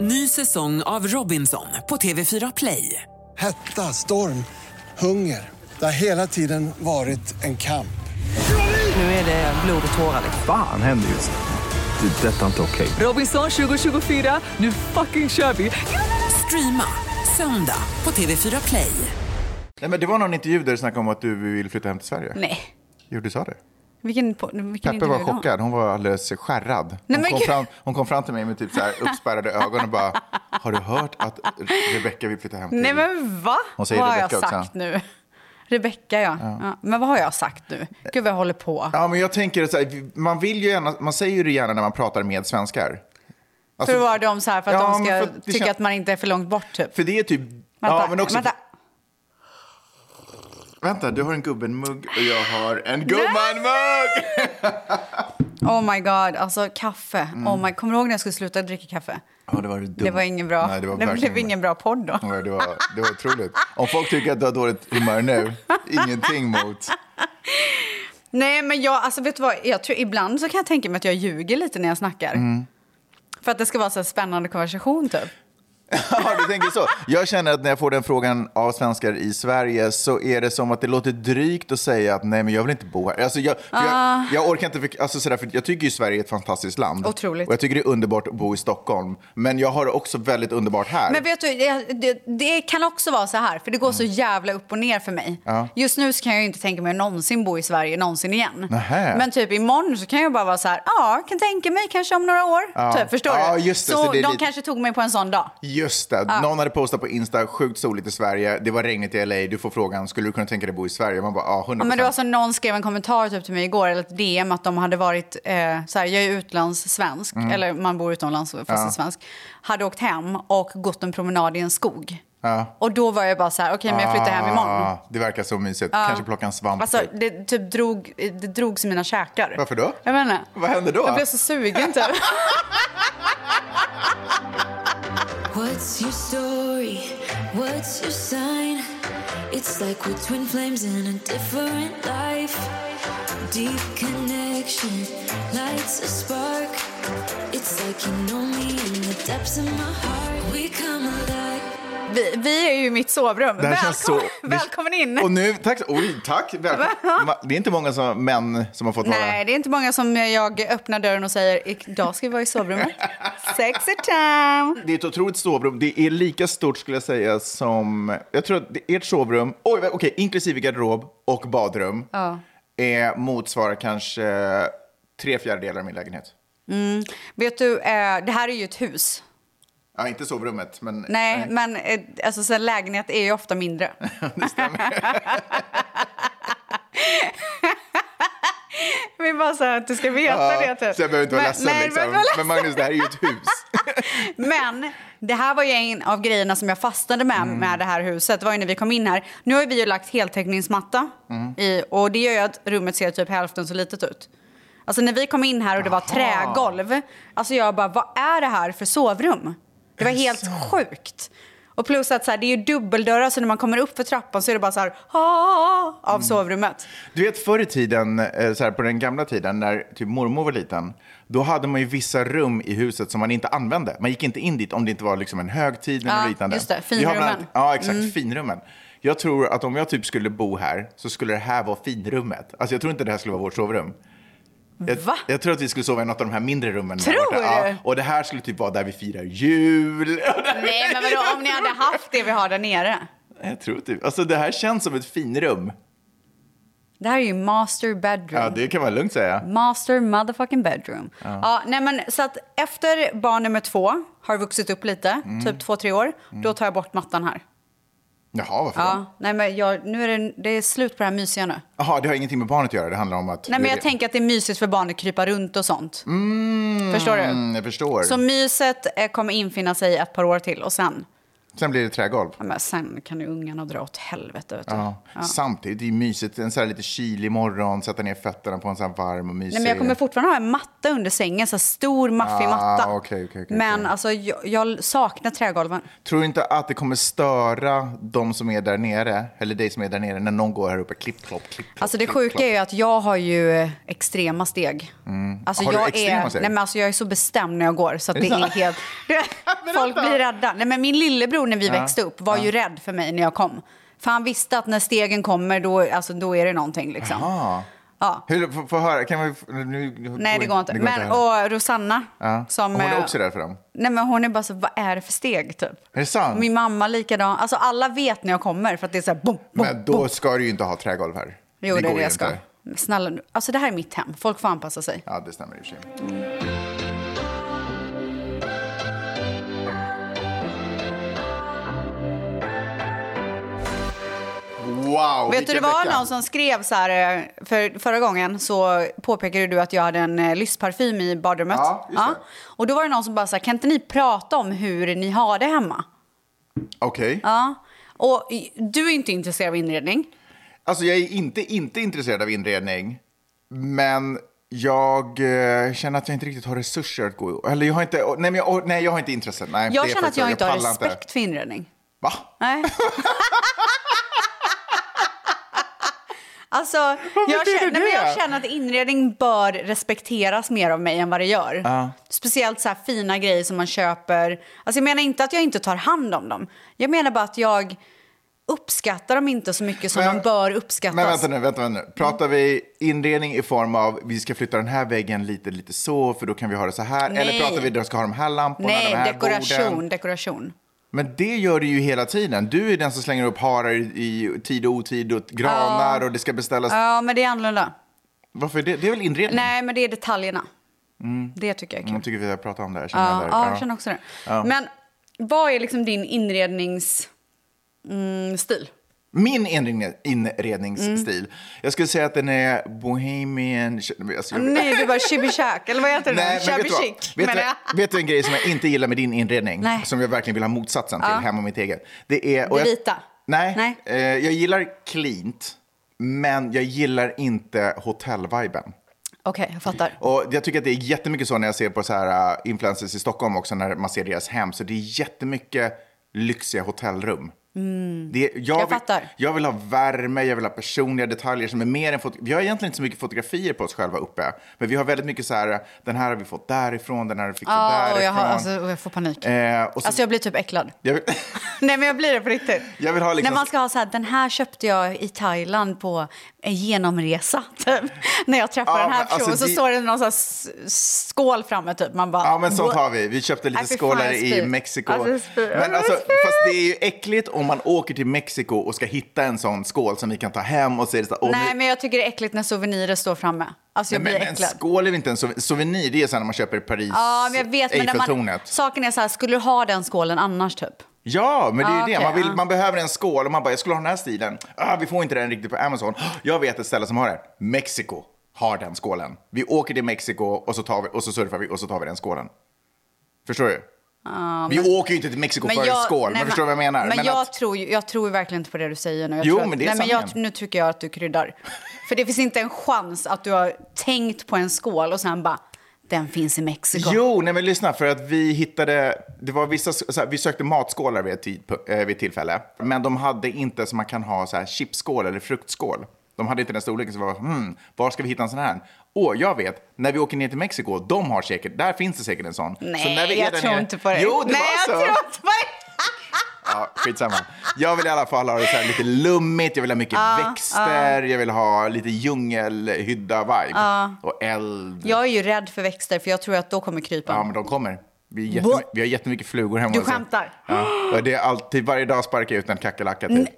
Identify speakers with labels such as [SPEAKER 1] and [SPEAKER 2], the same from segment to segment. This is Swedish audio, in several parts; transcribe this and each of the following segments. [SPEAKER 1] Ny säsong av Robinson på TV4 Play.
[SPEAKER 2] Hetta, storm, hunger. Det har hela tiden varit en kamp.
[SPEAKER 1] Nu är det blod och tårar.
[SPEAKER 3] Fan händer just nu. Det. är Detta är inte okej.
[SPEAKER 1] Robinson 2024, nu fucking kör vi! Streama söndag på TV4 Play.
[SPEAKER 4] Nej, men det var någon intervju där du snackade om att du vill flytta hem till Sverige.
[SPEAKER 5] Nej.
[SPEAKER 4] Jo, du sa det.
[SPEAKER 5] Vilken, po- vilken
[SPEAKER 4] Peppe var
[SPEAKER 5] intervju då?
[SPEAKER 4] chockad. Hon var alldeles skärrad. Hon,
[SPEAKER 5] men
[SPEAKER 4] kom
[SPEAKER 5] gud.
[SPEAKER 4] fram, hon kom fram till mig med typ så här uppspärrade ögon och bara, har du hört att Rebecca vill flytta hem till
[SPEAKER 5] Nej men va?
[SPEAKER 4] Hon säger
[SPEAKER 5] vad har
[SPEAKER 4] Rebecca
[SPEAKER 5] jag
[SPEAKER 4] också.
[SPEAKER 5] sagt nu? Rebecca ja. ja. Men vad har jag sagt nu? Gud vad jag håller på.
[SPEAKER 4] Ja, men jag tänker så här, man vill ju gärna, man säger ju det gärna när man pratar med svenskar. Alltså,
[SPEAKER 5] Förvarar dem så här för att
[SPEAKER 4] Ja,
[SPEAKER 5] de
[SPEAKER 4] men
[SPEAKER 5] ska
[SPEAKER 4] för att det
[SPEAKER 5] tycka
[SPEAKER 4] kän-
[SPEAKER 5] att man inte är för långt bort typ.
[SPEAKER 4] För det är typ, ja men också,
[SPEAKER 5] vänta.
[SPEAKER 4] vänta, du har en gubbenmugg och jag har en gummanmugg!
[SPEAKER 5] Oh my god, alltså kaffe.
[SPEAKER 4] Mm.
[SPEAKER 5] Oh my... Kommer du ihåg när jag skulle sluta dricka kaffe?
[SPEAKER 4] Ja, det var dumt.
[SPEAKER 5] Det var ingen bra,
[SPEAKER 4] Nej, det var verkligen Mm.
[SPEAKER 5] blev ingen bra podd då.
[SPEAKER 4] Ja, det, var, det var otroligt. Om folk tycker att du har dåligt humör nu, ingenting mot.
[SPEAKER 5] Nej, men jag, alltså vet du vad? Jag tror, ibland så kan jag tänka mig att jag ljuger lite när jag snackar.
[SPEAKER 4] Mm.
[SPEAKER 5] För att det ska vara så här spännande konversation typ.
[SPEAKER 4] Ja, du tänker så. Jag känner att när jag får den frågan av svenskar i Sverige så är det som att det låter drygt att säga att nej, men jag vill inte bo här. Alltså, jag, för
[SPEAKER 5] Ah.
[SPEAKER 4] jag, jag orkar inte, för, alltså, sådär, för jag tycker ju Sverige är ett fantastiskt land.
[SPEAKER 5] Otroligt.
[SPEAKER 4] Och jag tycker det är underbart att bo i Stockholm. Men jag har det också väldigt underbart här.
[SPEAKER 5] Men vet du, det, det, det kan också vara så här, för det går
[SPEAKER 4] Mm.
[SPEAKER 5] så jävla upp och ner för mig. Just nu så kan jag ju inte tänka mig att någonsin bo i Sverige någonsin igen.
[SPEAKER 4] Nähä.
[SPEAKER 5] Men typ imorgon så kan jag bara vara så här, ja, kan tänka mig kanske om några år. Typ, förstår
[SPEAKER 4] Ja,
[SPEAKER 5] du?
[SPEAKER 4] just det,
[SPEAKER 5] så
[SPEAKER 4] så det är
[SPEAKER 5] de
[SPEAKER 4] lite-
[SPEAKER 5] kanske tog mig på en sån dag.
[SPEAKER 4] Just det,
[SPEAKER 5] Ah.
[SPEAKER 4] någon hade postat på Insta, sjukt soligt i Sverige, det var regnigt i LA, du får frågan, skulle du kunna tänka dig bo i Sverige? Man bara, "Ah, ja, 100%.
[SPEAKER 5] Ja, men det var som någon skrev en kommentar typ till mig igår, eller ett DM, att de hade varit, eh, så här, jag är utlandssvensk,
[SPEAKER 4] Mm.
[SPEAKER 5] eller man bor utomlands fast är svensk, hade åkt hem och gått en promenad i en skog. Och då var jag bara så här, okej men jag flyttar hem imorgon.
[SPEAKER 4] Ah, det verkar så mysigt, kanske plocka en svamp.
[SPEAKER 5] Alltså
[SPEAKER 4] typ.
[SPEAKER 5] det typ drog, det drogs i mina käkar.
[SPEAKER 4] Varför då?
[SPEAKER 5] Jag vet inte.
[SPEAKER 4] Vad hände då?
[SPEAKER 5] Jag blev så sugen typ.
[SPEAKER 6] What's your story? What's your sign? It's like we're twin flames in a different life. Deep connection lights a spark. It's like you know me in the depths of my heart. We come alive.
[SPEAKER 5] Vi, vi är ju i mitt sovrum.
[SPEAKER 4] Det här
[SPEAKER 5] Välkommen,
[SPEAKER 4] känns så-
[SPEAKER 5] välkommen in.
[SPEAKER 4] Och nu, tack, oj, tack, välkommen. Ma- Det är inte många som, män som har fått
[SPEAKER 5] Nej,
[SPEAKER 4] vara...
[SPEAKER 5] det är inte många som jag öppnar dörren och säger idag ska vi vara i sovrummet. Sexy time!
[SPEAKER 4] Det är ett otroligt sovrum. Det är lika stort skulle jag säga som... Jag tror att det- ert sovrum, oj, okej, inklusive garderob och badrum, är, motsvarar kanske eh, tre fjärdedelar av min lägenhet.
[SPEAKER 5] Mm. Vet du, eh, det här är ju ett hus.
[SPEAKER 4] Ja, inte sovrummet, men...
[SPEAKER 5] Nej, men eh, alltså, så här, lägenhet är ju ofta mindre. Vi bara så här att du ska veta
[SPEAKER 4] Ja,
[SPEAKER 5] det. typ.
[SPEAKER 4] så jag behöver inte vara
[SPEAKER 5] Men-
[SPEAKER 4] ledsen.
[SPEAKER 5] nej, du behöver
[SPEAKER 4] liksom.
[SPEAKER 5] inte vara
[SPEAKER 4] Men Magnus, det här är ju ett hus.
[SPEAKER 5] Men det här var ju en av grejerna som jag fastnade med med det här huset. Det var ju när vi kom in här. Nu har ju vi ju lagt heltäckningsmatta i, och det gör ju att rummet ser typ hälften så litet ut. Alltså när vi kom in här och det var trägolv, alltså jag bara vad är det här för sovrum? Det var helt sjukt. Och plus att så här, det är ju dubbeldörrar så när man kommer upp för trappan så är det bara så här "Ah", av sovrummet.
[SPEAKER 4] Du vet förr i tiden, eh, så här, på den gamla tiden, när typ mormor var liten, då hade man ju vissa rum i huset som man inte använde. Man gick inte in dit om det inte var liksom en högtid eller
[SPEAKER 5] Ja,
[SPEAKER 4] något liknande.
[SPEAKER 5] just det.
[SPEAKER 4] Vi har bland
[SPEAKER 5] Finrummen. Mm.
[SPEAKER 4] Ja, exakt. Finrummen. Jag tror att om jag typ skulle bo här så skulle det här vara finrummet. Alltså jag tror inte det här skulle vara vårt sovrum. Jag,
[SPEAKER 5] Va?
[SPEAKER 4] jag tror att vi skulle sova i något av de här mindre rummen. där
[SPEAKER 5] Tror
[SPEAKER 4] borta.
[SPEAKER 5] du?
[SPEAKER 4] Ja, och det här skulle typ vara där vi firar jul.
[SPEAKER 5] Nej men vadå om ni hade haft det vi har där nere?
[SPEAKER 4] Jag tror typ. Alltså det här känns som ett finrum.
[SPEAKER 5] Det här är ju master bedroom.
[SPEAKER 4] Ja, det kan man lugnt säga.
[SPEAKER 5] Master motherfucking bedroom. Ja. nej men, så att efter barn nummer två har vuxit upp lite,
[SPEAKER 4] Mm.
[SPEAKER 5] typ två, tre år, då tar jag bort mattan här.
[SPEAKER 4] Jaha, varför då?
[SPEAKER 5] Ja, nej men jag, nu är det, det är slut på det här mysiga nu.
[SPEAKER 4] Jaha, det har ingenting med barnet att göra. Det handlar om att...
[SPEAKER 5] Nej men jag tänker att det är mysigt för barnet att krypa runt och sånt. Förstår du?
[SPEAKER 4] Mm, jag förstår.
[SPEAKER 5] Så myset eh, kommer infinna sig ett par år till och sen
[SPEAKER 4] Sen blir det trägolv.
[SPEAKER 5] Ja, men sen kan ju ungarna dra åt helvete. Vet du.
[SPEAKER 4] Ja.
[SPEAKER 5] Ja.
[SPEAKER 4] Samtidigt, det är ju mysigt. En så här lite kylig morgon, sätta ner fötterna på en så här varm och mysig...
[SPEAKER 5] Nej, men jag kommer fortfarande ha en matta under sängen, så här stor maffig
[SPEAKER 4] Ah,
[SPEAKER 5] matta.
[SPEAKER 4] okej, okej, okej,
[SPEAKER 5] men
[SPEAKER 4] okej.
[SPEAKER 5] alltså, jag, jag saknar trägolven.
[SPEAKER 4] Tror du inte att det kommer störa de som är där nere, eller dig som är där nere, när någon går här uppe? Klipp, klopp, klipp, klopp,
[SPEAKER 5] Alltså det
[SPEAKER 4] klipp,
[SPEAKER 5] sjuka
[SPEAKER 4] klopp.
[SPEAKER 5] är ju att jag har ju eh, extrema steg. Alltså,
[SPEAKER 4] Mm. Har du
[SPEAKER 5] jag
[SPEAKER 4] extrema
[SPEAKER 5] är,
[SPEAKER 4] steg?
[SPEAKER 5] Nej, men alltså jag är så bestämd när jag går så att
[SPEAKER 4] Är
[SPEAKER 5] det
[SPEAKER 4] det
[SPEAKER 5] är
[SPEAKER 4] sant?
[SPEAKER 5] helt... Folk blir rädda. Nej, men min lillebror när vi växte upp var ju rädd för mig när jag kom. För han visste att när stegen kommer då, alltså, då är det någonting liksom.
[SPEAKER 4] Ah.
[SPEAKER 5] Ja.
[SPEAKER 4] Hur, får, får höra, kan vi... Nu,
[SPEAKER 5] Nej det går inte.
[SPEAKER 4] att
[SPEAKER 5] Men,
[SPEAKER 4] höra.
[SPEAKER 5] och Rosanna
[SPEAKER 4] Ja.
[SPEAKER 5] som...
[SPEAKER 4] Hon är
[SPEAKER 5] eh,
[SPEAKER 4] också rädd för dem.
[SPEAKER 5] Nej men hon är bara så, vad är det för steg typ?
[SPEAKER 4] Är det sant?
[SPEAKER 5] Min mamma likadan. Alltså alla vet när jag kommer för att det är så här bom, bom,
[SPEAKER 4] Men
[SPEAKER 5] bom.
[SPEAKER 4] då ska du ju inte ha trägolv här.
[SPEAKER 5] Jo det, är
[SPEAKER 4] går
[SPEAKER 5] det
[SPEAKER 4] ju
[SPEAKER 5] jag ska.
[SPEAKER 4] inte.
[SPEAKER 5] Men Snälla nu. Alltså det här är mitt hem. Folk får anpassa sig.
[SPEAKER 4] Ja, det stämmer i och för sig. Wow,
[SPEAKER 5] Vet du, det
[SPEAKER 4] vilken
[SPEAKER 5] var
[SPEAKER 4] vecka.
[SPEAKER 5] någon som skrev så här, eh, för förra gången så påpekade du att jag hade en eh, lystparfym i badrummet.
[SPEAKER 4] Ja, just det.
[SPEAKER 5] Och då var det någon som bara så här, kan inte ni prata om hur ni har det hemma?
[SPEAKER 4] Okej.
[SPEAKER 5] Ja. Och i- du är inte intresserad av inredning.
[SPEAKER 4] Alltså, jag är inte, inte intresserad av inredning, men jag eh, känner att jag inte riktigt har resurser att gå... Eller jag har inte... Nej, men jag, or- nej, jag har inte intresse. Nej,
[SPEAKER 5] Jag
[SPEAKER 4] det är
[SPEAKER 5] känner att
[SPEAKER 4] faktiskt så.
[SPEAKER 5] jag inte har
[SPEAKER 4] pallar
[SPEAKER 5] respekt för inredning.
[SPEAKER 4] Va?
[SPEAKER 5] Nej. Alltså, jag
[SPEAKER 4] betyder
[SPEAKER 5] känner, nej, men jag
[SPEAKER 4] det?
[SPEAKER 5] känner att inredning bör respekteras mer av mig än vad det gör. Speciellt så här fina grejer som man köper. Alltså, jag menar inte att jag inte tar hand om dem. Jag menar bara att jag uppskattar dem inte så mycket som
[SPEAKER 4] Men-
[SPEAKER 5] de bör uppskattas.
[SPEAKER 4] Men vänta nu, vänta nu.
[SPEAKER 5] Mm.
[SPEAKER 4] Pratar vi inredning i form av vi ska flytta den här väggen lite, lite så, för då kan vi ha det så här?
[SPEAKER 5] Nej.
[SPEAKER 4] Eller pratar vi de ska ha de här lamporna, de
[SPEAKER 5] Nej,
[SPEAKER 4] här
[SPEAKER 5] dekoration,
[SPEAKER 4] borden?
[SPEAKER 5] dekoration.
[SPEAKER 4] Men det gör du ju hela tiden. Du är den som slänger upp harar i, i tid och otid och granar och det ska beställas.
[SPEAKER 5] Ja, men det är annorlunda.
[SPEAKER 4] Varför det? Det är väl inredning?
[SPEAKER 5] Nej, men det är detaljerna.
[SPEAKER 4] Mm.
[SPEAKER 5] Det tycker jag är kul.
[SPEAKER 4] Jag tycker vi har pratat om det här. känner
[SPEAKER 5] Ja,
[SPEAKER 4] där.
[SPEAKER 5] ja,
[SPEAKER 4] Ja.
[SPEAKER 5] jag känner också det. Men vad är liksom din inredningsstil? Mm, stil?
[SPEAKER 4] Min inredning, inredningsstil,
[SPEAKER 5] Mm.
[SPEAKER 4] jag skulle säga att den är bohemian... Alltså, jag-
[SPEAKER 5] Nej, du bara chibi chack, eller vad heter det?
[SPEAKER 4] men vet,
[SPEAKER 5] Shabby
[SPEAKER 4] du vad?
[SPEAKER 5] chic.
[SPEAKER 4] vet,
[SPEAKER 5] menar jag.
[SPEAKER 4] du, vet du en grej som jag inte gillar med din inredning?
[SPEAKER 5] Nej.
[SPEAKER 4] Som jag verkligen vill ha motsatsen till hemma mitt eget. Det är... och
[SPEAKER 5] Det
[SPEAKER 4] jag-
[SPEAKER 5] vita?
[SPEAKER 4] Nej,
[SPEAKER 5] Nej.
[SPEAKER 4] Eh, jag gillar cleant, men jag gillar inte hotellviben.
[SPEAKER 5] Okej, jag fattar.
[SPEAKER 4] Och jag tycker att det är jättemycket så när jag ser på så här uh, influencers i Stockholm också, när man ser deras hem. Så det är jättemycket lyxiga hotellrum. Det är, jag,
[SPEAKER 5] Mm. Jag
[SPEAKER 4] vill,
[SPEAKER 5] fattar.
[SPEAKER 4] jag vill ha värme, jag vill ha personliga detaljer som är mer än foto- Vi har egentligen inte så mycket fotografier på oss själva uppe. Men vi har väldigt mycket så här, äh, den här har vi fått därifrån, den här har vi fixat
[SPEAKER 5] Ja, och
[SPEAKER 4] därifrån.
[SPEAKER 5] jag, har, alltså, och jag får panik.
[SPEAKER 4] Eh, och så,
[SPEAKER 5] Alltså jag blir typ äcklad.
[SPEAKER 4] jag vill,
[SPEAKER 5] Nej men jag blir det på riktigt.
[SPEAKER 4] Jag vill ha liksom-
[SPEAKER 5] När man ska ha så här, den här köpte jag i Thailand på en genomresa. Typ. När jag träffar
[SPEAKER 4] Ja,
[SPEAKER 5] den här
[SPEAKER 4] men alltså
[SPEAKER 5] personen så
[SPEAKER 4] det-
[SPEAKER 5] står det någon så här s- skål framme typ. Man bara,
[SPEAKER 4] Ja men sånt
[SPEAKER 5] "What?"
[SPEAKER 4] har vi. Vi köpte lite
[SPEAKER 5] Nej, fy fan,
[SPEAKER 4] skålar
[SPEAKER 5] jag
[SPEAKER 4] i
[SPEAKER 5] spyr.
[SPEAKER 4] Mexiko.
[SPEAKER 5] Alltså, jag spyr.
[SPEAKER 4] men
[SPEAKER 5] Jag
[SPEAKER 4] alltså,
[SPEAKER 5] spyr.
[SPEAKER 4] fast det är ju äckligt om man åker till Mexiko och ska hitta en sån skål som vi kan ta hem och säga så här, "Åh,
[SPEAKER 5] Nej
[SPEAKER 4] nu-
[SPEAKER 5] men jag tycker det är äckligt när souvenirer står framme. Alltså jag
[SPEAKER 4] men,
[SPEAKER 5] blir
[SPEAKER 4] men en
[SPEAKER 5] äcklad.
[SPEAKER 4] skål är väl inte en sou- souvenir? Det är så här när man köper i Paris,
[SPEAKER 5] Ja, men jag vet. Men när man,
[SPEAKER 4] Eiffeltornet.
[SPEAKER 5] saken är så här, skulle du ha den skålen annars typ?
[SPEAKER 4] Ja, men det är ju
[SPEAKER 5] Ja,
[SPEAKER 4] det.
[SPEAKER 5] okej,
[SPEAKER 4] man, vill,
[SPEAKER 5] ja.
[SPEAKER 4] man behöver en skål och man bara, jag skulle ha den här stilen. Ah, vi får inte den riktigt på Amazon. Jag vet ett ställe som har den. Mexiko har den skålen. Vi åker till Mexiko och så, tar vi, och så surfar vi och så tar vi den skålen. Förstår du? vi åker ju inte till Mexiko för en skål,
[SPEAKER 5] nej,
[SPEAKER 4] men förstår du vad jag menar?
[SPEAKER 5] Men,
[SPEAKER 4] Men
[SPEAKER 5] jag,
[SPEAKER 4] att-
[SPEAKER 5] tror ju, jag tror ju verkligen inte på det du säger nu. Jag
[SPEAKER 4] Jo,
[SPEAKER 5] tror att,
[SPEAKER 4] men det är
[SPEAKER 5] nej, men jag,
[SPEAKER 4] sanningen.
[SPEAKER 5] Nu tycker jag att du kryddar. För det finns inte en chans att du har tänkt på en skål och sen bara, den finns i Mexiko.
[SPEAKER 4] Jo, nej men lyssna, för att vi hittade, det var vissa, så här, vi sökte matskålar vid ett, tid, eh, vid ett tillfälle, men de hade inte som man kan ha så här chipsskål eller fruktskål. De hade inte den storleken, så vi var hmm, var ska vi hitta en sån här? Åh, jag vet, när vi åker ner till Mexiko, de har säkert, där finns det säkert en sån. så när
[SPEAKER 5] Nej,
[SPEAKER 4] vi är
[SPEAKER 5] jag
[SPEAKER 4] där
[SPEAKER 5] tror
[SPEAKER 4] nere-
[SPEAKER 5] inte på det.
[SPEAKER 4] Jo, det
[SPEAKER 5] nej,
[SPEAKER 4] var
[SPEAKER 5] jag
[SPEAKER 4] så.
[SPEAKER 5] tror inte på det.
[SPEAKER 4] Ja, skitsamma. Jag vill i alla fall ha det så här lite lummigt, jag vill ha mycket växter, jag vill ha lite djungelhydda-vibe. Och eld.
[SPEAKER 5] Jag är ju rädd för växter, för jag tror att då kommer krypa.
[SPEAKER 4] Ja, men de kommer. Vi, är
[SPEAKER 5] Bo-
[SPEAKER 4] jättemy- vi har jättemycket flugor hemma.
[SPEAKER 5] Du
[SPEAKER 4] hos oss.
[SPEAKER 5] skämtar?
[SPEAKER 4] Ja. Och det är alltid, varje dag sparkar jag ut en kackerlacka. Typ.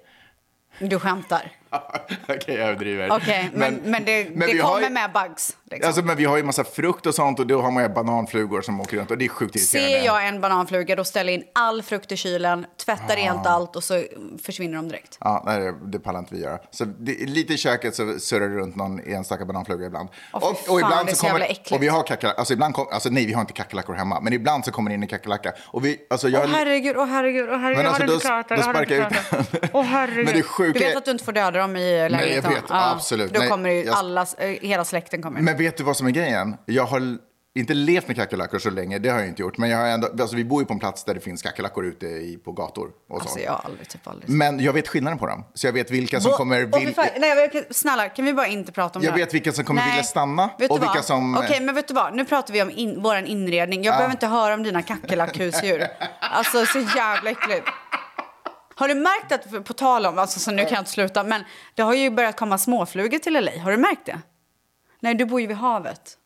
[SPEAKER 5] Du skämtar.
[SPEAKER 4] Okej, jag överdriver.
[SPEAKER 5] Okej, men, men, det, det
[SPEAKER 4] vi har
[SPEAKER 5] kommer
[SPEAKER 4] ju,
[SPEAKER 5] med bugs. Liksom.
[SPEAKER 4] Alltså, men vi har ju massa frukt och sånt och då har man ju bananflugor som åker runt och det är sjukt irriterande.
[SPEAKER 5] Ser jag en bananfluga, då ställer jag in all frukt i kylen, tvättar
[SPEAKER 4] Ah.
[SPEAKER 5] rent allt och så försvinner de direkt.
[SPEAKER 4] Ja, nej, det- det pallar inte vi göra. Så det, lite i köket så surrar det runt någon enstaka bananfluga ibland.
[SPEAKER 5] Åh, fy fan, det är så jävla äckligt.
[SPEAKER 4] och vi har kackerlackor, alltså ibland kom, alltså nej vi har inte kackerlackor hemma, men ibland så kommer det in en kackerlacka. Och vi, alltså jag...
[SPEAKER 5] Åh herregud, åh herregud, åh herregud.
[SPEAKER 4] Men
[SPEAKER 5] jag
[SPEAKER 4] alltså,
[SPEAKER 5] har inte
[SPEAKER 4] då- då
[SPEAKER 5] klarat det. jag har inte
[SPEAKER 4] sparkar jag
[SPEAKER 5] klarat
[SPEAKER 4] ut
[SPEAKER 5] det.
[SPEAKER 4] den.
[SPEAKER 5] Åh herregud.
[SPEAKER 4] Men det sjuka
[SPEAKER 5] du
[SPEAKER 4] är-
[SPEAKER 5] vet att du inte får döda dem i lägenheten?
[SPEAKER 4] vet, absolut.
[SPEAKER 5] Då
[SPEAKER 4] Nej,
[SPEAKER 5] kommer ju
[SPEAKER 4] jag-
[SPEAKER 5] alla, eh, hela släkten kommer.
[SPEAKER 4] Men vet du vad som är grejen? Jag har l- inte levt med kackerlackor så länge, det har jag inte gjort. Men jag har ändå, alltså vi bor ju på en plats där det finns kackerlackor ute i, på gator och så.
[SPEAKER 5] alltså jag har aldrig, typ aldrig.
[SPEAKER 4] Men jag vet skillnaden på dem. Så jag vet vilka som
[SPEAKER 5] Åh,
[SPEAKER 4] kommer...
[SPEAKER 5] åh, fy
[SPEAKER 4] vil-
[SPEAKER 5] fan. Nej, jag vet- snälla, kan vi bara inte prata om
[SPEAKER 4] Jag
[SPEAKER 5] det här?
[SPEAKER 4] vet vilka som kommer
[SPEAKER 5] Nej.
[SPEAKER 4] vilja stanna
[SPEAKER 5] vet
[SPEAKER 4] och
[SPEAKER 5] du vad?
[SPEAKER 4] vilka som- eh,
[SPEAKER 5] Okej, men vet du vad? Nu pratar vi om in, vår inredning. Jag behöver inte höra om dina kackerlackhusdjur. alltså, så jävla äckligt. Har du märkt att, på tal om, alltså, så nu kan jag inte sluta, men det har ju börjat komma småflugor till LA. Har du märkt det? Nej, du bor ju vid havet.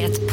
[SPEAKER 7] Ett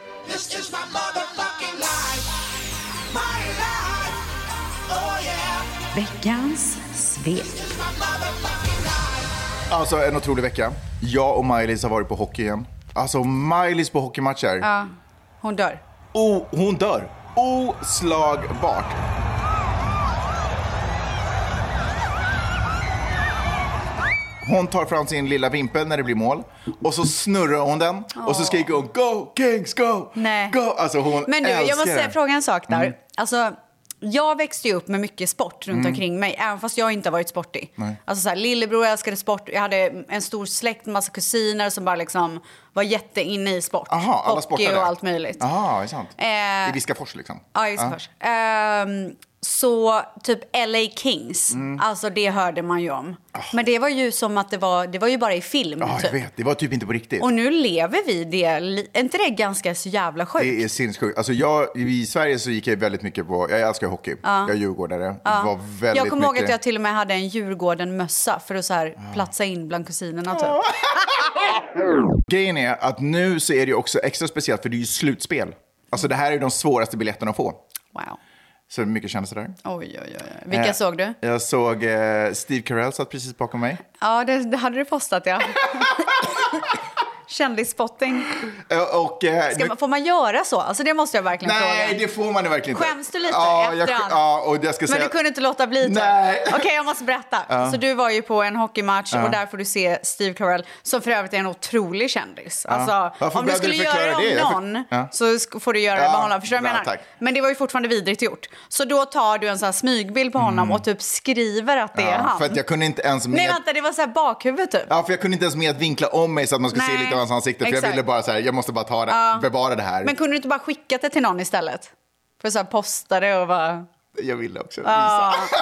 [SPEAKER 6] Oh,
[SPEAKER 8] Veckans svep.
[SPEAKER 4] Alltså en otrolig vecka. Jag och Maj-Lis har varit på hockey igen. Alltså Maj-Lis på hockeymatcher.
[SPEAKER 5] Hon dör.
[SPEAKER 4] Oh, hon dör. Oslagbart. Hon tar fram sin lilla vimpel när det blir mål och så snurrar hon den och så skriker hon go Kings go!
[SPEAKER 5] Nej.
[SPEAKER 4] Go! Alltså hon
[SPEAKER 5] Men
[SPEAKER 4] älskar
[SPEAKER 5] du,
[SPEAKER 4] Mm.
[SPEAKER 5] jag måste
[SPEAKER 4] den.
[SPEAKER 5] säga, fråga en sak där. Alltså, jag växte ju upp med mycket sport runt
[SPEAKER 4] Mm.
[SPEAKER 5] omkring mig, även fast jag inte har varit sportig. Alltså, så här, lillebror älskade sport, jag hade en stor släkt, massa kusiner som bara liksom var jätteinne i sport.
[SPEAKER 4] Aha, alla
[SPEAKER 5] Hockey
[SPEAKER 4] sportare.
[SPEAKER 5] och allt möjligt.
[SPEAKER 4] Jaha, är det sant?
[SPEAKER 5] Eh,
[SPEAKER 4] I Viskafors liksom?
[SPEAKER 5] Ja, just det. först. Ehm, så typ LA Kings,
[SPEAKER 4] Mm.
[SPEAKER 5] alltså det hörde man ju om. Men det var ju som att det var, det var ju bara i film.
[SPEAKER 4] Ah. Ja, jag
[SPEAKER 5] typ.
[SPEAKER 4] vet. Det var typ inte på riktigt.
[SPEAKER 5] Och nu lever vi det, li- är inte det ganska så jävla sjukt?
[SPEAKER 4] Det är sinnessjukt. Alltså jag, I Sverige så gick jag väldigt mycket på, jag älskar hockey, jag är djurgårdare. Det var väldigt
[SPEAKER 5] Jag kommer ihåg
[SPEAKER 4] mycket-
[SPEAKER 5] att jag till och med hade en Djurgården-mössa för att så här platsa in bland kusinerna. Typ.
[SPEAKER 4] Grejen är att nu så är det ju också extra speciellt för det är ju slutspel. Alltså det här är ju de svåraste biljetterna att få.
[SPEAKER 5] Wow.
[SPEAKER 4] Så mycket kändes det där.
[SPEAKER 5] Oj, oj, oj. Vilka
[SPEAKER 4] Eh,
[SPEAKER 5] såg du?
[SPEAKER 4] Jag såg eh, Steve Carell satt precis bakom mig.
[SPEAKER 5] Ja, det, det hade du postat, ja. Kändisspotting.
[SPEAKER 4] Eh, och, eh,
[SPEAKER 5] Ska
[SPEAKER 4] nu-
[SPEAKER 5] man, får man göra så? Alltså, det måste jag verkligen
[SPEAKER 4] Nej,
[SPEAKER 5] fråga.
[SPEAKER 4] det får man ju verkligen inte.
[SPEAKER 5] Skäms du lite
[SPEAKER 4] ja, jag,
[SPEAKER 5] efterhand?
[SPEAKER 4] ja, och jag ska
[SPEAKER 5] Men
[SPEAKER 4] säga...
[SPEAKER 5] du kunde inte låta bli? Typ.
[SPEAKER 4] Nej.
[SPEAKER 5] Okej, jag måste berätta. Så du var ju på en hockeymatch och där får du se Steve Carell som för övrigt är en otrolig kändis. Alltså,
[SPEAKER 4] Varför
[SPEAKER 5] om du
[SPEAKER 4] behövde
[SPEAKER 5] skulle
[SPEAKER 4] du
[SPEAKER 5] göra
[SPEAKER 4] förklara
[SPEAKER 5] det om
[SPEAKER 4] det? Jag för-
[SPEAKER 5] någon
[SPEAKER 4] Ja.
[SPEAKER 5] så sk- får du göra det
[SPEAKER 4] Ja,
[SPEAKER 5] med honom. Förstår du vad jag
[SPEAKER 4] bra,
[SPEAKER 5] menar?
[SPEAKER 4] tack.
[SPEAKER 5] Men det var ju fortfarande vidrigt gjort. Så då tar du en sån här smygbild på honom och typ skriver att det är
[SPEAKER 4] Mm. ja,
[SPEAKER 5] han.
[SPEAKER 4] för att jag kunde inte ens med...
[SPEAKER 5] Nej, vänta, det var så här bakhuvud typ.
[SPEAKER 4] Ja, för jag kunde inte ens med att vinkla om mig så att man skulle
[SPEAKER 5] Nej,
[SPEAKER 4] se lite av hans ansikte. För jag
[SPEAKER 5] exakt.
[SPEAKER 4] ville bara så här, jag måste bara ta det, bevara det här.
[SPEAKER 5] Men kunde du inte bara skickat det till någon istället? För så här posta det och bara...
[SPEAKER 4] Jag ville också
[SPEAKER 5] Ja,
[SPEAKER 4] visa.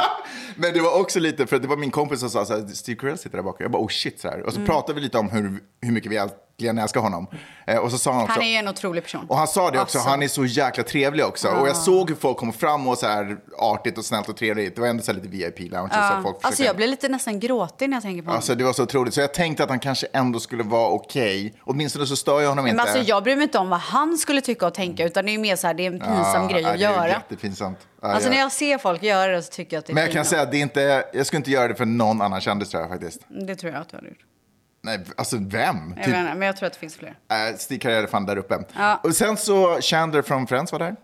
[SPEAKER 4] Men det var också lite, för det var min kompis som sa så här, Steve Carell sitter där bakom. Jag bara, oh shit så här.
[SPEAKER 5] Mm.
[SPEAKER 4] Och så pratade vi lite om hur, hur mycket vi egentligen älskar honom. Eh, och så sa han också,
[SPEAKER 5] Han är ju en otrolig person.
[SPEAKER 4] och han sa det också,
[SPEAKER 5] Alltså.
[SPEAKER 4] han är så jäkla trevlig också. Och
[SPEAKER 5] Ah.
[SPEAKER 4] jag såg hur folk kom fram och så här artigt och snällt och trevligt. Det var ändå så här lite VIP-lounge. Ja. Folk
[SPEAKER 5] Alltså
[SPEAKER 4] försökte-
[SPEAKER 5] jag blir lite nästan gråtig när jag tänker på honom.
[SPEAKER 4] Alltså det var så otroligt. Så jag tänkte att han kanske ändå skulle vara okej. Åtminstone så stör jag honom
[SPEAKER 5] Men
[SPEAKER 4] inte. Mm.
[SPEAKER 5] alltså jag bryr mig inte om vad han skulle tycka och tänka utan det är ju mer så här, det är en pinsam grej
[SPEAKER 4] Ja,
[SPEAKER 5] att
[SPEAKER 4] Ah, Det är ju
[SPEAKER 5] göra.
[SPEAKER 4] jättepinsamt. Ah, Ja,
[SPEAKER 5] Alltså
[SPEAKER 4] jag-
[SPEAKER 5] när jag ser folk göra det så tycker jag att det är
[SPEAKER 4] Men jag kan
[SPEAKER 5] pinsamt.
[SPEAKER 4] säga att det är inte, jag skulle inte göra det för någon annan kändis tror jag faktiskt.
[SPEAKER 5] Det tror jag att du har gjort.
[SPEAKER 4] Nej, alltså vem?
[SPEAKER 5] Jag
[SPEAKER 4] Typ,
[SPEAKER 5] menar, men jag tror att det finns fler.
[SPEAKER 4] äh, Stig Carell är fan där uppe. Och sen så Chandler från Friends var där.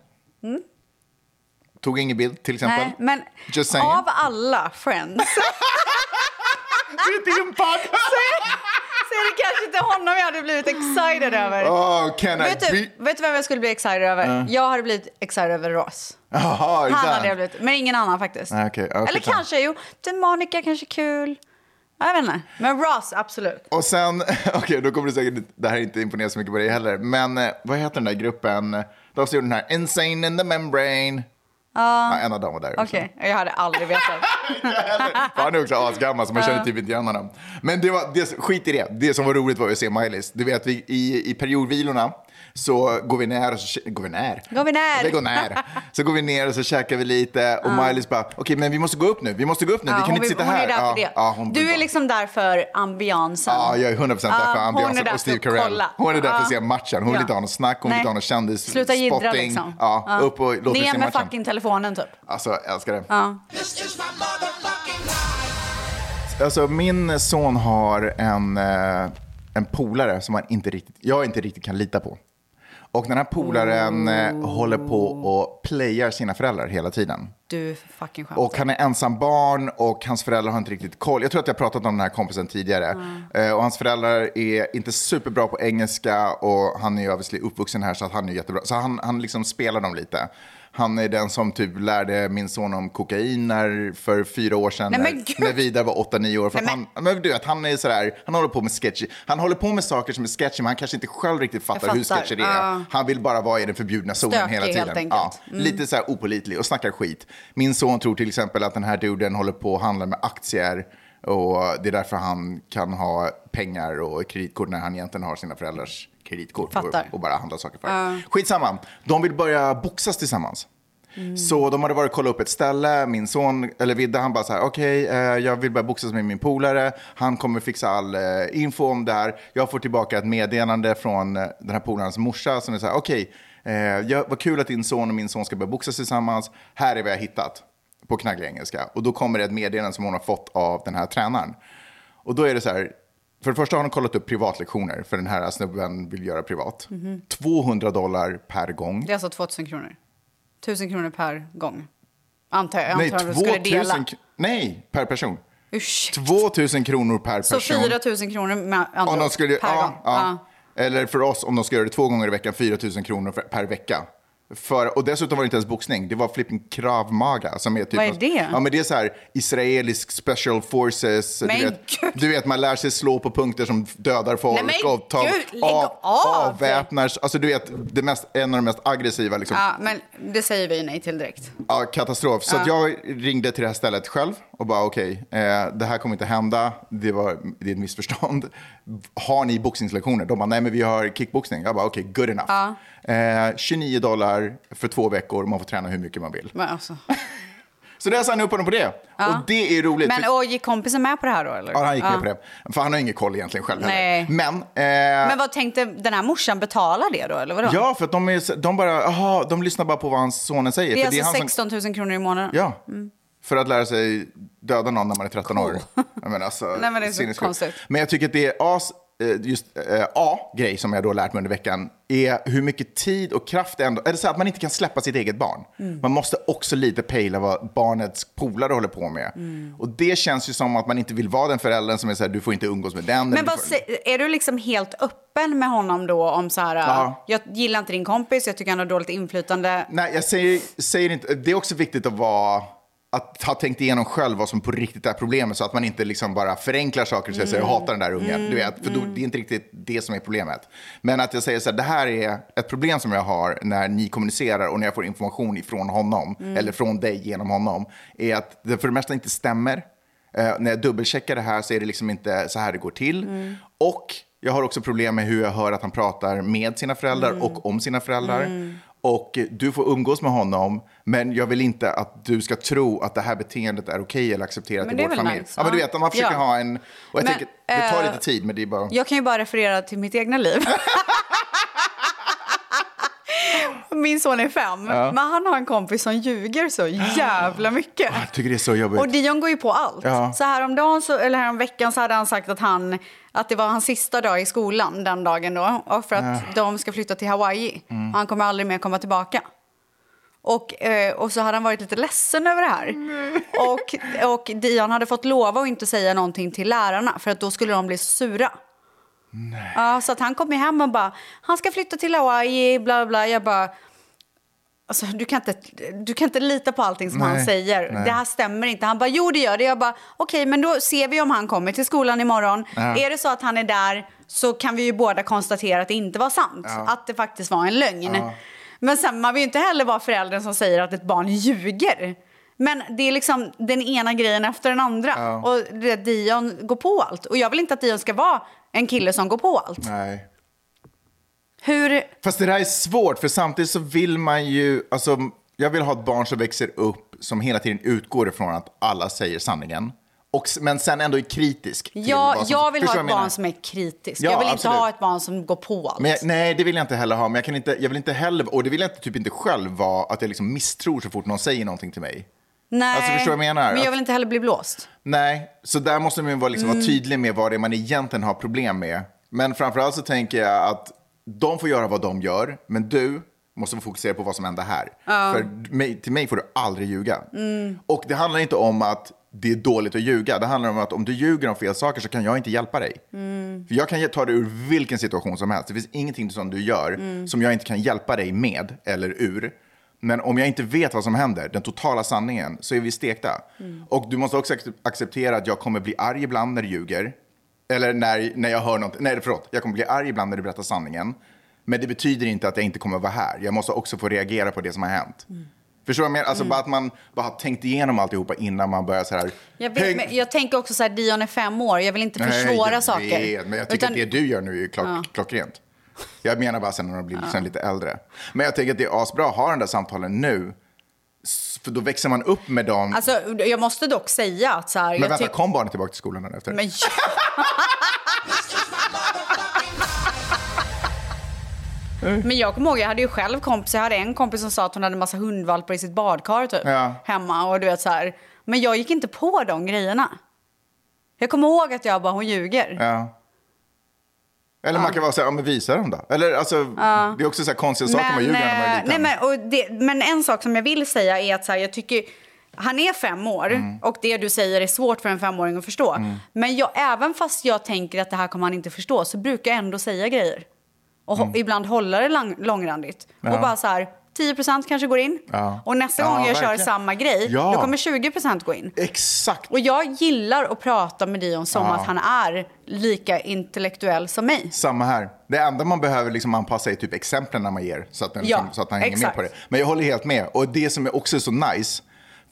[SPEAKER 4] Tog ingen bild till exempel.
[SPEAKER 5] Mm. Nej, men
[SPEAKER 4] Just saying.
[SPEAKER 5] av alla friends
[SPEAKER 4] Mitt impad!
[SPEAKER 5] så är det kanske inte honom jag hade blivit excited över.
[SPEAKER 4] Mm. Åh, Oh, can I
[SPEAKER 5] vet, du,
[SPEAKER 4] be-
[SPEAKER 5] vet du vem jag skulle bli excited över? Jag hade blivit excited över Ross.
[SPEAKER 4] Jaha, är det
[SPEAKER 5] Han hade
[SPEAKER 4] sant?
[SPEAKER 5] jag blivit, men ingen annan faktiskt.
[SPEAKER 4] Nej, okej, ja,
[SPEAKER 5] Eller
[SPEAKER 4] skitsamma.
[SPEAKER 5] kanske, jo, till Monica kanske kul. Jag vet inte. Men Ross, absolut.
[SPEAKER 4] Och sen, okej då kommer du säkert, det här inte imponera så mycket på dig heller, men eh, vad heter den där gruppen? De som gjorde den här Insane in the Membrane. Ja, en av dem var där också.
[SPEAKER 5] Okej, jag hade aldrig vetat.
[SPEAKER 4] För Han är också asgammal så man känner typ inte igen honom. Men det var, det, skit i det. Det som var roligt var ju att se Miley's. Du vet, vi, i, i periodvilorna så går vi ner och så... kä- Går vi ner?
[SPEAKER 5] Går vi ner?
[SPEAKER 4] Det går ner. Så går vi ner och så käkar vi lite och Miley's bara, okej men vi måste gå upp nu, vi måste gå upp nu,
[SPEAKER 5] Ja,
[SPEAKER 4] vi kan
[SPEAKER 5] hon
[SPEAKER 4] inte
[SPEAKER 5] vill-
[SPEAKER 4] sitta
[SPEAKER 5] hon
[SPEAKER 4] här.
[SPEAKER 5] Är där
[SPEAKER 4] ja,
[SPEAKER 5] för det.
[SPEAKER 4] ja, hon vill
[SPEAKER 5] du
[SPEAKER 4] bara-
[SPEAKER 5] är liksom där för ambiansen.
[SPEAKER 4] Ja, jag är 100% där
[SPEAKER 5] Ja,
[SPEAKER 4] för
[SPEAKER 5] hon är
[SPEAKER 4] ambiansen
[SPEAKER 5] där
[SPEAKER 4] och Steve
[SPEAKER 5] för att
[SPEAKER 4] Carell.
[SPEAKER 5] kolla.
[SPEAKER 4] Hon är där för att se
[SPEAKER 5] Ja.
[SPEAKER 4] matchen. Hon vill
[SPEAKER 5] Ja.
[SPEAKER 4] inte ha någon snack, hon vill
[SPEAKER 5] Nej.
[SPEAKER 4] inte ha någon kändis,
[SPEAKER 5] Sluta jiddra
[SPEAKER 4] spotting.
[SPEAKER 5] liksom.
[SPEAKER 4] Ja, upp och låt oss
[SPEAKER 5] Ner
[SPEAKER 4] se
[SPEAKER 5] med
[SPEAKER 4] matchen.
[SPEAKER 5] fucking telefonen typ.
[SPEAKER 4] Alltså, jag älskar det.
[SPEAKER 5] Ja.
[SPEAKER 4] Alltså, min son har en, eh, en polare som han inte riktigt, jag inte riktigt kan lita på. Och den här polaren eh, håller på och playar sina föräldrar hela tiden.
[SPEAKER 5] Du fucking skämtar.
[SPEAKER 4] Och han är ensam barn och hans föräldrar har inte riktigt koll. Jag tror att jag har pratat om den här kompisen tidigare. Eh, och hans föräldrar är inte superbra på engelska och han är ju obviously uppvuxen här så att han är jättebra. Så han, han liksom spelar dem lite. Han är den som typ lärde min son om kokain när, för fyra år sedan
[SPEAKER 5] Nej,
[SPEAKER 4] när,
[SPEAKER 5] men gud!
[SPEAKER 4] när Vidar var åtta, nio år. För
[SPEAKER 5] Nej,
[SPEAKER 4] att han, men du vet, han är sådär, han håller på med sketchy. Han håller på med saker som är sketchy men han kanske inte själv riktigt fattar, hur
[SPEAKER 5] fattar.
[SPEAKER 4] sketchy det är.
[SPEAKER 5] Ja.
[SPEAKER 4] Han vill bara vara i den förbjudna zonen
[SPEAKER 5] Stökig,
[SPEAKER 4] hela tiden.
[SPEAKER 5] helt enkelt.
[SPEAKER 4] Ja. Lite så här opolitlig och snackar skit. Min son tror till exempel att den här duden håller på och handlar med aktier och det är därför han kan ha pengar och kreditkort när han egentligen har sina föräldrars kreditkort och,
[SPEAKER 5] Fattar.
[SPEAKER 4] och bara handlar saker för. Skitsamma, de vill börja boxas tillsammans. Så de hade varit och kollat upp ett ställe, min son, eller Vidde, han bara så här, okej, eh, jag vill börja boxas med min polare, han kommer fixa all eh, info om det här. Jag får tillbaka ett meddelande från eh, den här polarens morsa som är så här, okej, eh, ja, vad kul att din son och min son ska börja boxas tillsammans, här är vad jag har hittat på knagglig engelska. Och då kommer det ett meddelande som hon har fått av den här tränaren. Och då är det så här, för det första har hon kollat upp privatlektioner, för den här snubben vill göra privat. 200 dollar per gång.
[SPEAKER 5] Det är alltså 2000 kronor. 1000 kronor per gång. Antar jag. Jag
[SPEAKER 4] Nej,
[SPEAKER 5] antar att du skulle
[SPEAKER 4] 2000
[SPEAKER 5] dela.
[SPEAKER 4] kr- Nej, per person.
[SPEAKER 5] Usch.
[SPEAKER 4] 2000 kronor per
[SPEAKER 5] Så
[SPEAKER 4] person.
[SPEAKER 5] 4000 kronor med andra
[SPEAKER 4] om de
[SPEAKER 5] ord
[SPEAKER 4] skulle,
[SPEAKER 5] per
[SPEAKER 4] ja,
[SPEAKER 5] gång.
[SPEAKER 4] Ja. Eller för oss, om de ska göra det två gånger i veckan, 4000 kronor för, per vecka. För, och dessutom var det inte ens boxning, det var flipping krav maga. Som är typ
[SPEAKER 5] Vad är det?
[SPEAKER 4] Ja, men det är så här israelisk special forces.
[SPEAKER 5] Men
[SPEAKER 4] du, vet,
[SPEAKER 5] gud!
[SPEAKER 4] du vet, man lär sig slå på punkter som dödar folk.
[SPEAKER 5] Nej, men
[SPEAKER 4] och tar-
[SPEAKER 5] gud, lägg
[SPEAKER 4] av-
[SPEAKER 5] av!
[SPEAKER 4] Avväpnar, alltså du vet, det mest, en av de mest aggressiva liksom,
[SPEAKER 5] Ja, men det säger vi nej till direkt.
[SPEAKER 4] Ja, katastrof. Så att jag ringde till det här stället själv och bara okej, eh, det här kommer inte hända. Det, var, det är ett missförstånd. Har ni boxningslektioner? De bara nej, men vi har kickboxning. Jag bara okej, good enough. Eh, 29 dollar för två veckor. Man får träna hur mycket man vill.
[SPEAKER 5] Men, alltså.
[SPEAKER 4] Så det signade jag upp honom på det. Och det är roligt.
[SPEAKER 5] men
[SPEAKER 4] för,
[SPEAKER 5] och gick kompisen med på det här då eller?
[SPEAKER 4] ja, han gick med på det. För han har ingen koll egentligen själv
[SPEAKER 5] Nej.
[SPEAKER 4] heller. Men, eh,
[SPEAKER 5] Men vad tänkte den här morsan betala det då eller vadå?
[SPEAKER 4] ja, för att de, är, de bara, aha, de lyssnar bara på vad hans sonen säger.
[SPEAKER 5] det är
[SPEAKER 4] för det är
[SPEAKER 5] alltså
[SPEAKER 4] han som-
[SPEAKER 5] 16 000 kronor i månaden.
[SPEAKER 4] Ja.
[SPEAKER 5] Mm.
[SPEAKER 4] För att lära sig döda någon när man är 13 år. Jag menar, alltså,
[SPEAKER 5] Nej, men det är så
[SPEAKER 4] sinnessjukt.
[SPEAKER 5] konstigt.
[SPEAKER 4] Men jag tycker att det är as, eh, just eh, A-grej som jag då lärt mig under veckan är hur mycket tid och kraft det ändå, eller så här, att man inte kan släppa sitt eget barn.
[SPEAKER 5] Mm.
[SPEAKER 4] Man måste också lite pejla vad barnets polare håller på med.
[SPEAKER 5] Mm.
[SPEAKER 4] Och det känns ju som att man inte vill vara den föräldern som är så här, du får inte umgås med den. eller
[SPEAKER 5] Men
[SPEAKER 4] du
[SPEAKER 5] vad,
[SPEAKER 4] får-
[SPEAKER 5] sä- är du liksom helt öppen med honom då om så här,
[SPEAKER 4] Ja.
[SPEAKER 5] jag gillar inte din kompis, jag tycker han har dåligt inflytande.
[SPEAKER 4] Nej, jag säger, säger inte... Det är också viktigt att vara att ha tänkt igenom själv vad som på riktigt är problemet så att man inte liksom bara förenklar saker och säger så här, jag hatar den där ungen. Du vet, för då, det är inte riktigt det som är problemet. Men att jag säger så här, det här är ett problem som jag har när ni kommunicerar och när jag får information ifrån honom eller från dig genom honom. Är att det för det mesta inte stämmer. Eh, när jag dubbelcheckar det här så är det liksom inte så här det går till.
[SPEAKER 5] Mm.
[SPEAKER 4] Och jag har också problem med hur jag hör att han pratar med sina föräldrar
[SPEAKER 5] Mm.
[SPEAKER 4] och om sina föräldrar. Och eh, du får umgås med honom, men jag vill inte att du ska tro att det här beteendet är okej eller accepterat
[SPEAKER 5] Men
[SPEAKER 4] i
[SPEAKER 5] det är
[SPEAKER 4] vår
[SPEAKER 5] väl
[SPEAKER 4] familj.
[SPEAKER 5] nice,
[SPEAKER 4] ja, men du
[SPEAKER 5] ja.
[SPEAKER 4] vet, om man försöker
[SPEAKER 5] Ja.
[SPEAKER 4] ha en... Och jag
[SPEAKER 5] Men,
[SPEAKER 4] tänker, det tar
[SPEAKER 5] eh,
[SPEAKER 4] lite tid, men det är bara...
[SPEAKER 5] Jag kan ju bara referera till mitt egna liv. Min son är fem, men han har en kompis som ljuger så jävla mycket.
[SPEAKER 4] Jag tycker det är så jobbigt.
[SPEAKER 5] Och Dion går ju på allt.
[SPEAKER 4] Ja.
[SPEAKER 5] Så häromdagen, så, eller häromveckan, så hade han sagt att, han, att det var hans sista dag i skolan den dagen då. Och för att de ska flytta till Hawaii.
[SPEAKER 4] Mm.
[SPEAKER 5] Och han kommer aldrig mer komma tillbaka. Och, eh, och så hade han varit lite ledsen över det här. Och, och Dion hade fått lova att inte säga någonting till lärarna för att då skulle de bli så sura. Ja, så att han kom ju hem och bara, han ska flytta till Hawaii, bla bla, bla. Jag bara, alltså, du, kan inte, du kan inte lita på allting som han
[SPEAKER 4] Nej,
[SPEAKER 5] säger.
[SPEAKER 4] nej.
[SPEAKER 5] Det här stämmer inte. Han bara, jo det gör det. Jag bara, okej men då ser vi om han kommer till skolan imorgon. Är det så att han är där så kan vi ju båda konstatera att det inte var sant. Att det faktiskt var en lögn. Men sen, man vill ju inte heller vara föräldern som säger att ett barn ljuger. Men det är liksom den ena grejen efter den andra. Och det, Dion går på allt. Och jag vill inte att Dion ska vara en kille som går på allt.
[SPEAKER 4] Nej.
[SPEAKER 5] Hur...
[SPEAKER 4] Fast det där är svårt, för samtidigt så vill man ju... Alltså, jag vill ha ett barn som växer upp som hela tiden utgår ifrån att alla säger sanningen. Och, s- men sen ändå är kritisk. till
[SPEAKER 5] Jag,
[SPEAKER 4] vad som-
[SPEAKER 5] jag vill
[SPEAKER 4] Förstår
[SPEAKER 5] ha
[SPEAKER 4] vad
[SPEAKER 5] ett
[SPEAKER 4] menar?
[SPEAKER 5] barn som är kritisk.
[SPEAKER 4] Ja,
[SPEAKER 5] jag vill
[SPEAKER 4] absolut.
[SPEAKER 5] inte ha ett barn som går på allt.
[SPEAKER 4] Men jag, nej, det vill jag inte heller ha. Men jag, kan inte, jag vill inte heller, och det vill jag inte, typ inte själv vara, att jag liksom misstror så fort någon säger någonting till mig.
[SPEAKER 5] Nej,
[SPEAKER 4] alltså, förstår du vad jag menar?
[SPEAKER 5] men jag
[SPEAKER 4] Att-
[SPEAKER 5] vill inte heller bli blåst.
[SPEAKER 4] Nej, så där måste man ju vara, liksom, vara tydlig med vad det är man egentligen har problem med. Men framförallt så tänker jag att de får göra vad de gör, men du måste fokusera på vad som händer här. För mig, till mig får du aldrig ljuga. Och det handlar inte om att det är dåligt att ljuga. Det handlar om att om du ljuger om fel saker så kan jag inte hjälpa dig. För jag kan ta dig ur vilken situation som helst. Det finns ingenting som du gör som jag inte kan hjälpa dig med eller ur. Men om jag inte vet vad som händer, den totala sanningen, så är vi stekta.
[SPEAKER 5] Mm.
[SPEAKER 4] Och du måste också ac- acceptera att jag kommer bli arg ibland när du ljuger. Eller när, när jag hör något. Nej, förlåt. Jag kommer bli arg ibland när du berättar sanningen. Men det betyder inte att jag inte kommer vara här. Jag måste också få reagera på det som har hänt.
[SPEAKER 5] Mm.
[SPEAKER 4] Förstår du vad jag menar? Alltså bara att man bara har tänkt igenom alltihopa innan man börjar så här.
[SPEAKER 5] Jag, vet,
[SPEAKER 4] "Tänk-
[SPEAKER 5] men jag tänker också så här, Dion är fem år, jag vill inte försvåra
[SPEAKER 4] jag
[SPEAKER 5] saker.
[SPEAKER 4] Vet, men jag tycker
[SPEAKER 5] Utan-
[SPEAKER 4] att det du gör nu är klock, klockrent. Jag menar bara sen när de blir liksom lite äldre. Men jag tänker att det är asbra att ha den där samtalen nu. S- För då växer man upp med dem.
[SPEAKER 5] Alltså, jag måste dock säga att så här...
[SPEAKER 4] men
[SPEAKER 5] jag
[SPEAKER 4] vänta,
[SPEAKER 5] tyck-
[SPEAKER 4] kom barnet tillbaka till skolan här efter?
[SPEAKER 5] Men
[SPEAKER 4] Mm.
[SPEAKER 5] Men jag kommer ihåg, jag hade ju själv kompis, jag hade en kompis som sa att hon hade massa hundvalpar i sitt badkar typ,
[SPEAKER 4] Ja.
[SPEAKER 5] hemma och du vet så här. Men jag gick inte på de grejerna. Jag kommer ihåg att jag bara, hon ljuger.
[SPEAKER 4] Ja. Eller man kan vara så här, ja, men visa dem då. Eller alltså, det är också så här konstiga saker man ljuger när man är
[SPEAKER 5] eh,
[SPEAKER 4] liten.
[SPEAKER 5] nej, men, och det, men en sak som jag vill säga är att så här, jag tycker han är fem år
[SPEAKER 4] Mm.
[SPEAKER 5] och det du säger är svårt för en femåring att förstå. Men jag, även fast jag tänker att det här kommer han inte förstå så brukar jag ändå säga grejer. Och ho-
[SPEAKER 4] Mm.
[SPEAKER 5] ibland hålla det lang, långrandigt. Och bara så här, 10 kanske går in.
[SPEAKER 4] Ja.
[SPEAKER 5] Och nästa
[SPEAKER 4] Ja,
[SPEAKER 5] gång jag kör
[SPEAKER 4] verkligen.
[SPEAKER 5] samma grej,
[SPEAKER 4] Ja.
[SPEAKER 5] då kommer 20 gå in.
[SPEAKER 4] Exakt.
[SPEAKER 5] Och jag gillar att prata med Dion som att han är lika intellektuell som mig.
[SPEAKER 4] Samma här. Det enda man behöver liksom anpassa är typ exemplen när man ger så att, den,
[SPEAKER 5] Ja,
[SPEAKER 4] liksom, så att han hänger
[SPEAKER 5] exakt.
[SPEAKER 4] med på det. Men jag håller helt med. Och det som är också så nice,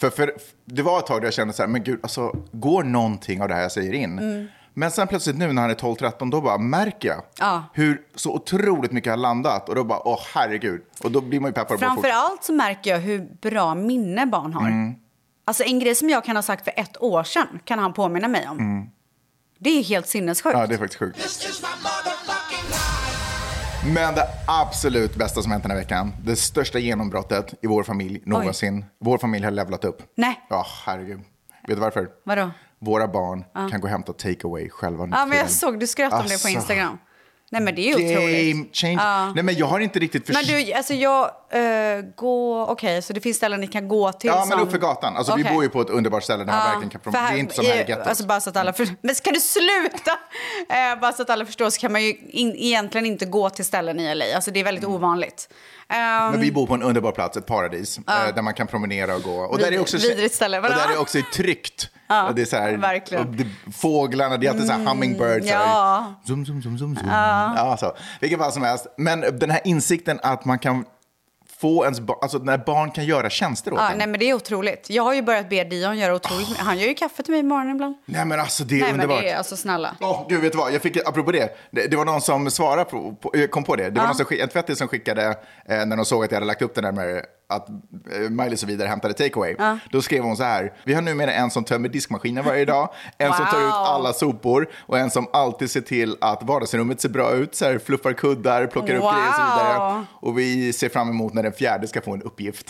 [SPEAKER 4] för, för det var ett tag där jag kände så här, men gud, alltså, går någonting av det här jag säger in?
[SPEAKER 5] Mm.
[SPEAKER 4] Men sen plötsligt nu när han är 12-13, då bara märker jag hur så otroligt mycket har landat. Och då bara, åh herregud. Och då blir man ju peppad på att Mm. fortsätta.
[SPEAKER 5] Framförallt så märker jag hur bra minne barn har. Alltså en grej som jag kan ha sagt för ett år sedan kan han påminna mig om. Det är helt sinnessjukt.
[SPEAKER 4] Mm. Ja, det är faktiskt sjukt. Men det absolut bästa som hänt den här veckan, det största genombrottet i vår familj någonsin. Vår familj har levlat upp.
[SPEAKER 5] Nej.
[SPEAKER 4] Ja, herregud. Vet du varför?
[SPEAKER 5] Vadå?
[SPEAKER 4] Våra barn kan gå och hämta takeaway själva nu
[SPEAKER 5] Ja,
[SPEAKER 4] för
[SPEAKER 5] men jag
[SPEAKER 4] tiden.
[SPEAKER 5] såg du skrattade om det
[SPEAKER 4] Alltså.
[SPEAKER 5] på Instagram. Nej, men det är ju
[SPEAKER 4] Game
[SPEAKER 5] otroligt.
[SPEAKER 4] change. Nej, men jag har inte riktigt
[SPEAKER 5] Men
[SPEAKER 4] förstått.
[SPEAKER 5] du, alltså jag eh, går... Okej, så det finns ställen ni kan gå till
[SPEAKER 4] Ja,
[SPEAKER 5] som...
[SPEAKER 4] men uppför gatan. Alltså, Vi
[SPEAKER 5] liksom- Okej.
[SPEAKER 4] bor ju på ett underbart ställe där man
[SPEAKER 5] Ja,
[SPEAKER 4] verkligen kan
[SPEAKER 5] för
[SPEAKER 4] promenera. Det är inte som här i gettot.
[SPEAKER 5] Alltså bara så att alla för, men kan du sluta? Eh, bara så att alla förstår så kan man ju in, egentligen inte gå till ställen i LA. Alltså det är
[SPEAKER 4] Mm.
[SPEAKER 5] väldigt ovanligt. Ehm,
[SPEAKER 4] Men vi bor på en underbar plats, ett paradis, eh, där man kan promenera och gå. Och där är
[SPEAKER 5] Vidrigt-
[SPEAKER 4] också,
[SPEAKER 5] vidrigt ställe,
[SPEAKER 4] Och
[SPEAKER 5] vadå?
[SPEAKER 4] där är också tryggt.
[SPEAKER 5] Ja,
[SPEAKER 4] och det är så här,
[SPEAKER 5] verkligen. Mm,
[SPEAKER 4] och det- fåglarna, det är alltid så här hummingbirds. så här,
[SPEAKER 5] ja.
[SPEAKER 4] Zoom, zoom, zoom, zoom, zoom. Ja, så. Vilket fall som helst. Men den här insikten att man kan få ens barn, alltså när barn kan göra tjänster åt
[SPEAKER 5] ja,
[SPEAKER 4] en.
[SPEAKER 5] nej
[SPEAKER 4] Nej.
[SPEAKER 5] men det är otroligt. Jag har ju börjat be Dion göra otroligt mycket. Han gör ju kaffe till mig i morgonen ibland.
[SPEAKER 4] men alltså det är
[SPEAKER 5] nej
[SPEAKER 4] underbart.
[SPEAKER 5] men det är alltså snälla.
[SPEAKER 4] Åh, gud, vet du vad? Jag fick, apropå det, det, det var någon som svarade på, på jag kom på det. Det var någon som, skick- en tvättis som skickade, eh, när de såg att jag hade lagt upp den där med att eh, Miley så vidare hämtade takeaway. Då skrev hon så här, vi har numera en som tömmer diskmaskinen varje dag, en som tar
[SPEAKER 5] Wow.
[SPEAKER 4] ut alla sopor och en som alltid ser till att vardagsrummet ser bra ut, så här, fluffar kuddar, plockar upp grejer och så vidare.
[SPEAKER 5] Wow.
[SPEAKER 4] Och vi ser fram emot när den fjärde ska få en uppgift.